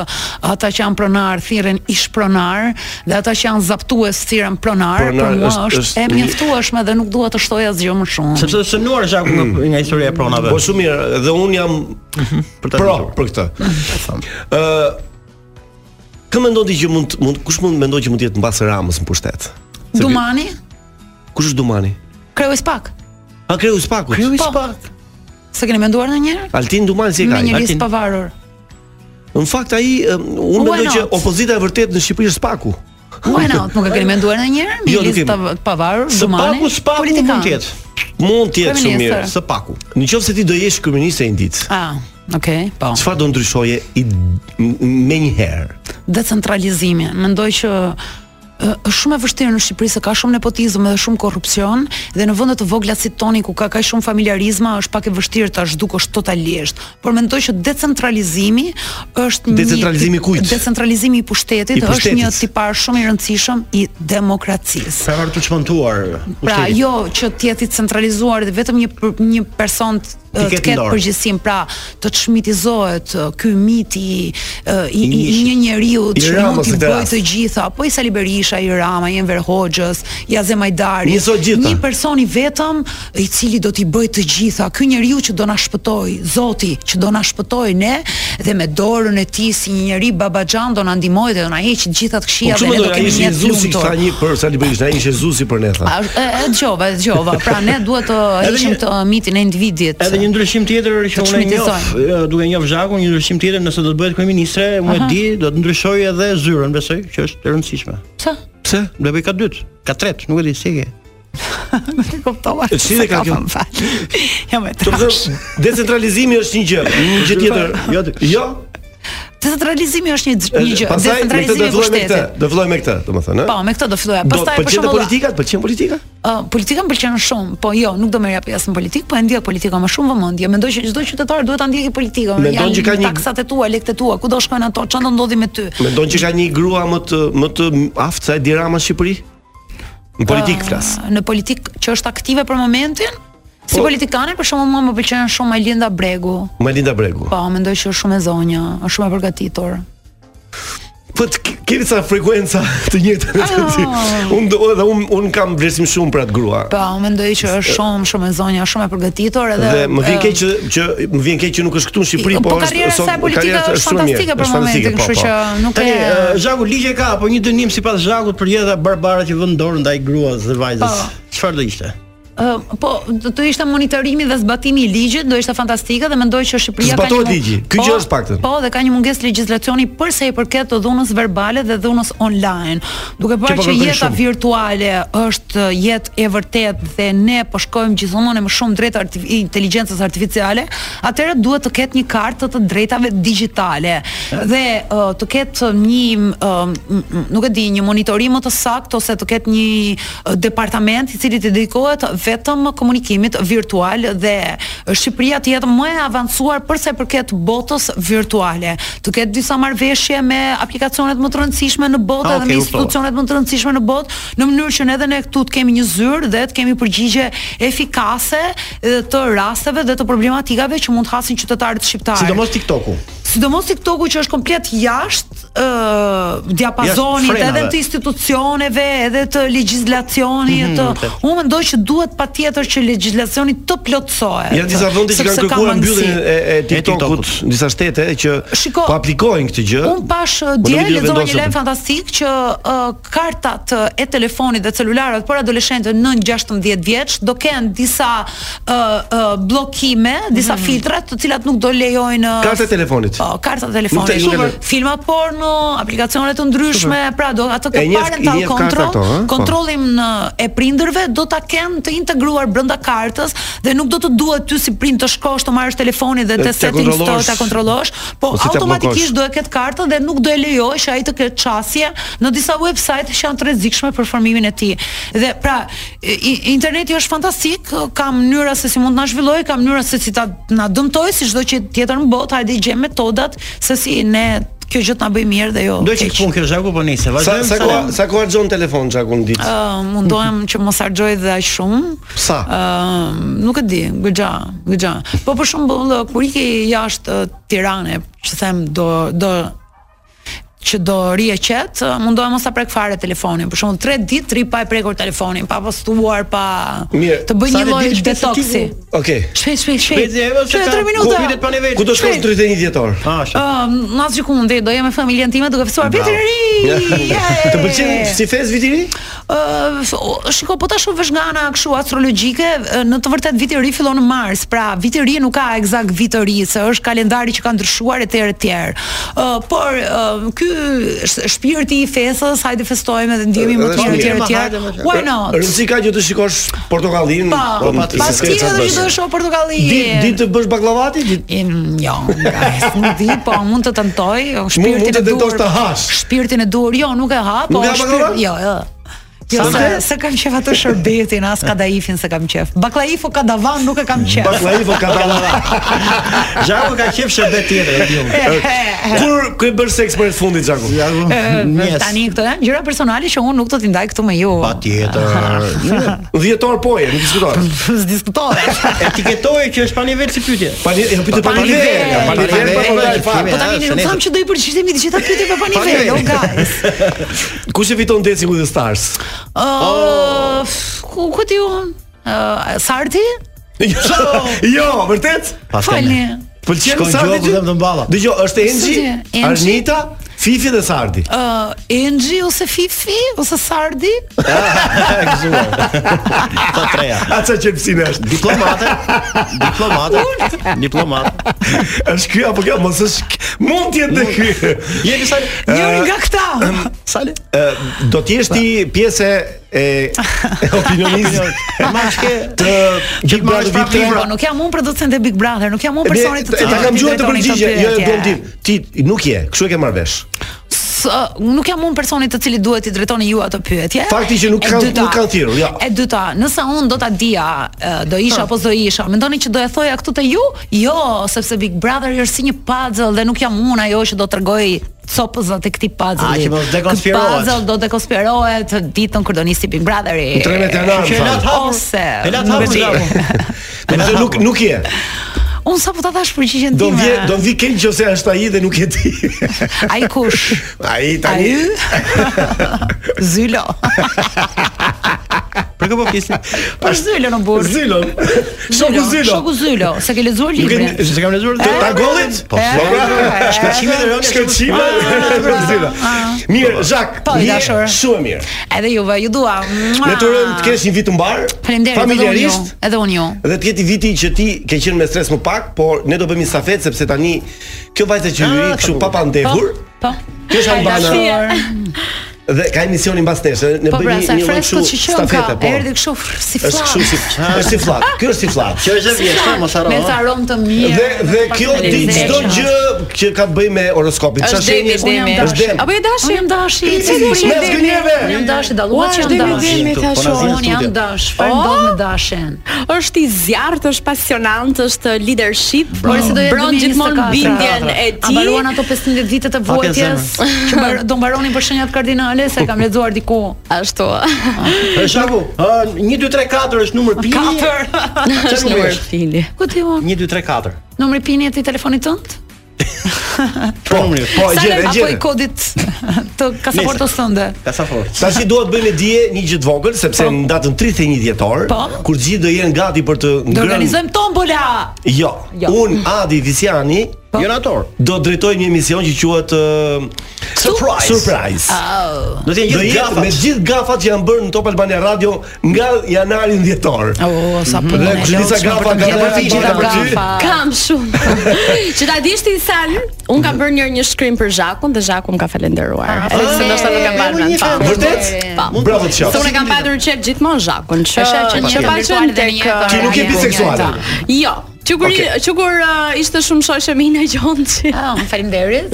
ata që janë pronar thirren ish pronar dhe ata që janë zaptues thirren pronar, Pronar për mua është- është, është- e mjaftueshme dhe nuk dua të shtoj asgjë më shumë. Sepse është shënuar Zhaku nga nga historia e pronave. Po shumë mirë, dhe un jam për ta pro dëgjuar. për këtë. Ë Kë mendon ti që mund mund kush mund mendon që mund të jetë mbas Ramës në pushtet? Se Dumani, kë- Kush është Dumani? kreu i spak. A kreu i Spakut. Kreu Po. Se keni menduar ndonjëherë? Altin Dumani si e ka? Me ai? një listë Altin. pavarur. Në fakt ai ë, unë Why mendoj që not? opozita e vërtet në Shqipëri është Spaku. Why not? Nuk e keni menduar ndonjëherë? Me Jo, një nuk kemi. listë pa- pavarur, Së Dumani. paku, së paku mund të jetë. Mund të jetë shumë mirë, së Kryeministër. paku. Në qoftë se ti do jesh kryeminist e një ditë, Ah, okay, po. çfarë do ndryshoje i me një herë? decentralizimi. Mendoj që ë, është shumë e vështirë në Shqipëri se ka shumë nepotizëm dhe shumë korrupsion dhe në vende të vogla si toni ku ka kaq shumë familjarizma është pak e vështirë ta zhdukësh totalisht. Por mendoj që decentralizimi është një Decentralizimi kujt? Decentralizimi i pushtetit, I pushtetit. është një tipar shumë i rëndësishëm i demokracisë. Pra për të çmontuar. Pra pushtetit. jo që të jetë i centralizuar dhe vetëm një për- një person të, Ti të ketë ketë ndorë. përgjegjësinë, pra të çmitizohet ë, ky miti ë, i, i, i I një njeriu i që mund Ramës t'i në këtë bëjë rast. të gjitha, po i Sali Berisha, i Rama, i Enver Hoxhës, i Azem Ajdari. Njësoj gjitha. Një person i vetëm i cili do t'i bëjë të gjitha. Ky njeriu që do na shpëtoi, Zoti që do na shpëtoi ne dhe me dorën e tij si një njeri babaxhan do na ndihmojë dhe do na heqë të gjitha të Po këqija çu dhe ne do mendoj ai kemi ishte një jetë Jezusi lumtur. tha një për Sali Berisha, ai ishte Jezusi për ne tha. A, e, e dëgjova, e dëgjova. Pra ne duhet të Edhe ishim një- të uh, mitin e individit. Edhe një ndryshim tjetër që Të unë e njoh, çmitisojnë. e, duke njoh Zhakun, një ndryshim tjetër nëse do të bëhet kryeministre, unë e Aha. di, do të ndryshoj edhe zyrën, besoj, që është e rëndësishme. Pse? Pse? Do bëj ka dytë, ka tretë, nuk e di si e ke. Nuk e kuptova. E, si dhe ka Sa kjo? më fal. Jo më Do të trash. thënë, decentralizimi është një gjë, një gjë tjetër. Jo, jo. Decentralizimi është një një gjë, Eh, Pastaj me këtë do decentralizimi i filloj me këtë, pushtetit. do filloj me këtë, domethënë, Po, ëh. me këtë do filloja. Do po të Pastaj për pëlqen shembull, Po, politika, të pëlqen politika? ë, politika më pëlqen shumë, po jo, nuk do merrja pjesë në politikë, po e ndjej politikën më shumë vëmendje. Mendoj që çdo qytetar duhet ta ndjekë politikën. Mendon janë që ka një- taksat e tua, lekët e tua, ku do shkojnë ato, çfarë do ndodhi me ty. Mendon që ka një grua më të më të aftë se Edi Rama në Shqipëri? Në Ah. politikë flas. Ë, Në politikë që është aktive për momentin, si Po. politikane për shembull mua më pëlqen shumë Alinda Bregu. Melinda Bregu. Po, mendoj që është shumë e zonja, është shumë e përgatitur. Po të ke- keni ca frekuenca të njëjta. Unë do- edhe unë un kam vlerësim shumë për atë grua. Ah. Po, mendoj që është shumë shumë e zonja, shumë e përgatitur edhe Dhe më vjen e, keq që që më vjen keq që nuk është këtu në Shqipëri, po, eh, po është karriera e sot- saj politike karriera shumë e është mirë, fantastike për është fantastike, momentin, kështu po, po. që nuk Tani, e e, Zhaku ligje ka, po një dënim sipas Zhakut për jeta barbare që vën dorë ndaj gruas dhe vajzës. Po. Çfarë do ishte? Uh, po, do të ishte monitorimi dhe zbatimi i ligjit, do ishte fantastike dhe mendoj që Shqipëria ka Zbatohet mung- ligji, ky gjë është paktën. Po, dhe ka një mungesë legjislacioni për sa i përket të dhunës verbale dhe dhunës online. Duke Që parë po që kërkojnë jeta shumë. virtuale është jetë e vërtetë dhe ne po shkojmë gjithmonë më shumë drejt arti- inteligjencës artificiale, atëherë duhet të ketë një kartë të drejtave digjitale dhe uh, të ketë një uh, m- m- nuk e di, një monitorim më të saktë ose të ketë një uh, departament i cili të dedikohet vetëm komunikimit virtual dhe Shqipëria të jetë më e avancuar për sa i përket botës virtuale. Të ketë disa marrëveshje me aplikacionet më të rëndësishme në botë Ah, okay, dhe me kuptova. institucione institucionet më të rëndësishme në botë, në mënyrë që ne edhe ne këtu të kemi një zyrë dhe të kemi përgjigje efikase eh, të rasteve dhe të problematikave që mund të hasin qytetarët shqiptarë. Sidomos TikToku. Sidomos TikToku që është komplet jashtë ë diapazonit Jashtë edhe frenave. të institucioneve, edhe të Mhm, legjislacionit. të- vërtet. Unë mendoj që duhet patjetër që legjislacioni të plotësohet. Janë disa vende që sepse kanë ka kërkuar mangësi. mbylljen e, e TikTokut, disa shtete që Shiko, po aplikojnë këtë gjë. Un pash po nuk dje i di të lexova një vendosen. lajm fantastik që uh, kartat uh, e telefonit dhe celularët për adoleshentët nën 16 vjeç do kenë disa uh, uh, bllokime, disa filtra të cilat nuk do lejojnë uh, Karta e telefonit. Po, karta e Nuk të- telefonit. nuk e Super. le- Filma porno, aplikacione të ndryshme, Super. pra do atë E ke njeh- i parental njeh karta control, këto, ha? Po. kontrollin uh, e prindërve do ta kenë të integruar brenda kartës dhe nuk do të duhet ty si prind të shkosh të marrësh telefonin dhe Të- të t'ja settings të kontrollosh. ta kontrollosh, po Ose t'ja automatikisht bllokosh. do e ketë kartën dhe nuk do e lejoj që ai të ketë çasje në disa website që janë të rrezikshme për formimin e tij. Dhe pra, i- i- interneti është fantastik, ka mënyra se si mund na zhvilloj, ka mënyra se si ta na dëmtoj, si çdo gjë tjetër në botë, hajde gjejmë metodat se si ne kjo gjë të na bëj mirë dhe jo. Do që keq. pun kjo Zhaku po nice. Sa Vazhdojmë. sa sa- ku sa ku harxhon telefon Xhaku në ditë? Ë, mundohem që mos harxoj dhe aq shumë. Sa? Ë, nuk e di, goxha, goxha. Po për shembull kur i ke jashtë uh, Tiranës, që them do do që do rije qet, ë, mundohem mos ta prek fare telefonin. Për shembull 3 ditë tri pa e prekur telefonin, pa postuar, pa Mirë. të bëj Sa një ne lloj ditë shpesh detoksi. ti ku- Okej. Shpejt, shpejt, shpejt. Shpejt e evës Shpejt, tre minuta. Ku do shkosh 31 dhjetor? Ah, Ëm, uh, asgjë ku mundi, do jem me familjen time duke fësuar vitin e ri. Të pëlqen si fes viti i ri? Ë, f- shiko, po ta shoh vesh nga ana kështu astrologjike, ë, në të vërtetë viti i ri fillon në Mars, pra viti i ri nuk ka eksakt vit të ri, se është kalendari që ka ndryshuar etj etj. Ë, por ë, ky sh- shpirti i fesës, hajde festojmë dhe ndihemi më Edhe të mirë etj shpirti. etj. Why not? Rëndësi ka që të shikosh portokallin, Po, pa tjetër që do shoh portokalli. Ditë ditë të bësh baklavati, ditë. Jo, guys, nuk di, po mund të tentoj o, Mund- mund shpirtin të e tentosh dur. të hash. Shpirtin e dur, jo, nuk e ha, po Nuk e ha baklava? shpirt, jo, jo. Jo, Sa se, the? se kam qef atë shërbetin, as kadaifin se kam qef. Baklaif o kadavan nuk e kam qef. Baklaif o kadavan. Zhaku ka qef shërbet tjetër e diu. Kur ku e bësh seks për fundit Xhaku? Ë, Tani po. këto janë gjëra personale që unë nuk do t'i ndaj këtu me ju. Po, Patjetër. Dhjetor po e, nuk diskutohet. S'diskutohet. Etiketoj që është pa nivel si pyetje. Pa nivel, ja pyetje pa nivel, pa nivel, pa nivel, pa- Po tani ne nuk tham që do i përgjigjemi të gjitha pyetjeve pa nivel. nivel, o guys. Kush e fiton Dancing with the Stars? Ë, f- ku ku ti unë? Ë, Sarti? Jo, vërtet? Falni. Pëlqen Shkon Sardi? gjoku dhe më të mballa. Dëgjoj, është Enxhi, Së gjë, Enxhi. Arnita, Fifi dhe Sardi. Ë, Enxhi ose Fifi ose Sardi? E gëzuar. Të treja. Aca qelpsina është. Diplomate, diplomate, diplomate. Është ky apo kjo? Mos është k- mund të jetë dhe ky. Jeni sa Njëri nga këta. Sale. Ë, do të jesh ti pjesë e e opinionizmit. Ma shke të Big Brother Vip Po, nuk jam unë producent e Big Brother, nuk jam unë personi të Ta cilët kam i gjuhën të drejtoni këto përgjigje, jo pyetje. duam ti. Ti nuk je, kështu e ke marrë vesh. S- ë, nuk jam unë personi të cili duhet i drejtoni ju ato pyetje. Fakti që nuk E kanë- dyta- nuk kanë thirrur, jo. E dyta, nëse unë do ta dija, ë, do isha apo s'do isha, mendoni që do e thoja këtu te ju? Jo, sepse Big Brother është si një puzzle dhe nuk jam unë ajo që do t'rregoj copëzat e këtij Ah, puzzle. që mos dekonspirohet. Puzzle do dekonspirohet ditën kur do nisi Big Brotheri. Në trenet e Ranës, Që e la thonë. t'hapur- Ose. E la nuk e t'hapur, di. Zhaku. Do të thotë nuk nuk je. Unë sapo ta thash përgjigjen time. Do vje, do vi keq nëse është ai dhe nuk je ti. Ai kush? Ai tani. Zylo. Për kë po flisim? Për Zylën në burr. Zylën. Shoku Zylo. Shoku Zylo, se ke lexuar Nuk librin. e se kam lexuar të tagollit? Po, Eh, flora. Shkëlqimet e rënda. Shkëlqimet e rënda. Mirë, Zak, Ah. Po, i je dashur. shumë mirë. Edhe juve, ju dua. Mua. Ne të urojmë të kesh një vit të mbar. Faleminderit. jo. Familjarisht. Edhe unë ju. Dhe të jeti viti që ti ke qenë me stres më pak, por ne do bëjmë një stafet sepse tani kjo vajza që hyri kështu pa pa ndehur Ah, Po. Kjo është Albana. dhe ka emisionin mbas nesh, ne Po bëjmë pra, një sa një lloj freskët që kështu qënë ka, stafete, po. erdi kështu fr- si flak. Është kështu si është si fllat. Kjo është si fllat. Kjo është e vjeshtë, mos haro. Me të aromë të mirë. Dhe dhe kjo di çdo gjë që ka të bëjë me horoskopin. Është demi, është demi. Është demi. Apo je dashi? Unë jam dashi. Cili është Unë jam mes dashi. gënjeve? Unë jam dashi, dallua Ua, që jam është demi, dashi. demi, tha Po, na shoh. Unë jam studio. dash. Farë Oh! ndodh me dashin? është i zjarrt, është pasionant, është leadership, Por si do jetë bron 2024? gjithmonë bindjen e A tij. mbaruan ato 15 vitet e Pak e vuajtjes zemër. që mbar- do mbaronin për shenjat kardinale se kam lexuar diku. Ashtu. Për shembull, uh, 1 2 3 4 është numër pini. 4. Është numër pini. Ku ti unë? 1 2 3 4. Numri i pinit i telefonit tënd? Po, po, e Sa gjej, lem- e Apo gjej. i kodit të pasaportës tënde? Kasafort. Tashi duhet bëjmë dije një gjë të vogël sepse në datën 31 dhjetor, Po. kur gjithë do jenë gati për të Do ngrënë organizojmë tombola. Jo. Jo. Un Adi Visiani, Po. jonator, do drejtoj një emision që quhet ë, Surprise. Surprise. Oh. Do të jenë gjithë gafat, me gjithë gafat që janë bërë në Top Albania Radio nga janari në dhjetor. Oh, sa po. Dhe kështu disa gafa kanë bërë gjitha për ty. Kam shumë. që ta dish ti Sal, un kam bërë një një shkrim për Zhakun dhe Zhaku më ka falenderuar. Ah, Edhe pse ndoshta nuk e mban mend. pa. Vërtet? Po. Bravo të Se qoftë. unë e kam patur qef gjithmonë Zhakun, që Është që një që paqen virtual të Ah, tek një- Ti nuk je biseksuale. Jo. Që kur, Okej. që kur uh, ishte shumë shoqe me Ina Gjonçi. Ah, faleminderit.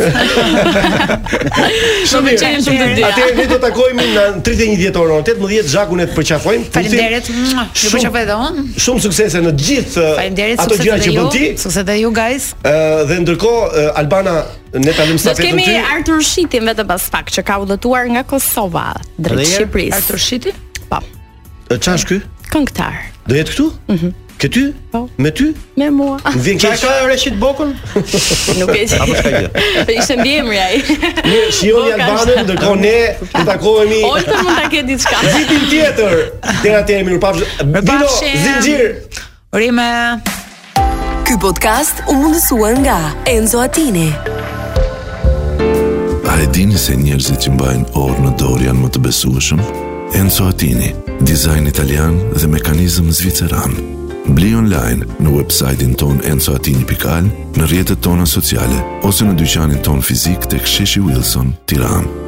Shumë më qenë shumë të dyja. Atëherë ne do takohemi në 31 dhjetor orën 18 Zhakun e të përqafojmë. Futi. Faleminderit. mua, Ju Shumë- përshënoj edhe unë. Shumë suksese në gjithë eh, Faleminderit ato gjëra sukses që edhe bën ti. ju. Sukses edhe ju guys. Ë, dhe ndërkohë eh, Albana ne ta lëmë Do të stafetën kemi ty. Artur Shitin vetëm pas pak që ka udhëtuar nga Kosova drejt Dhe herë, Shqipërisë. Artur Shiti? Po, Ë, Çfarë është ky? këngëtar. Do jetë këtu? Mhm. Ke ty? Po. Me ty? Me mua. Më vjen Çka keq. ka Reshit Bokun? Nuk e di. Apo s'ka gjë. Ishte mbiemri ai. Mirë, shihoni Po, ka Albanën, shtë. ndërkohë ne do takohemi Olta mund ta ketë diçka. vitin tjetër. Deri atëherë mirë pafsh. Dino pafshim. zinxhir. Rime. Ky podcast u mundësua nga Enzo Attini. A e dini se njerëzit që mbajnë orë në dorë janë më të besueshëm? Enzo Attini, dizajn italian dhe mekanizëm zviceran. Bli online në website-in ton enzoatini.al, në rjetët tona sociale, ose në dyqanin ton fizik të ksheshi Wilson, tiranë.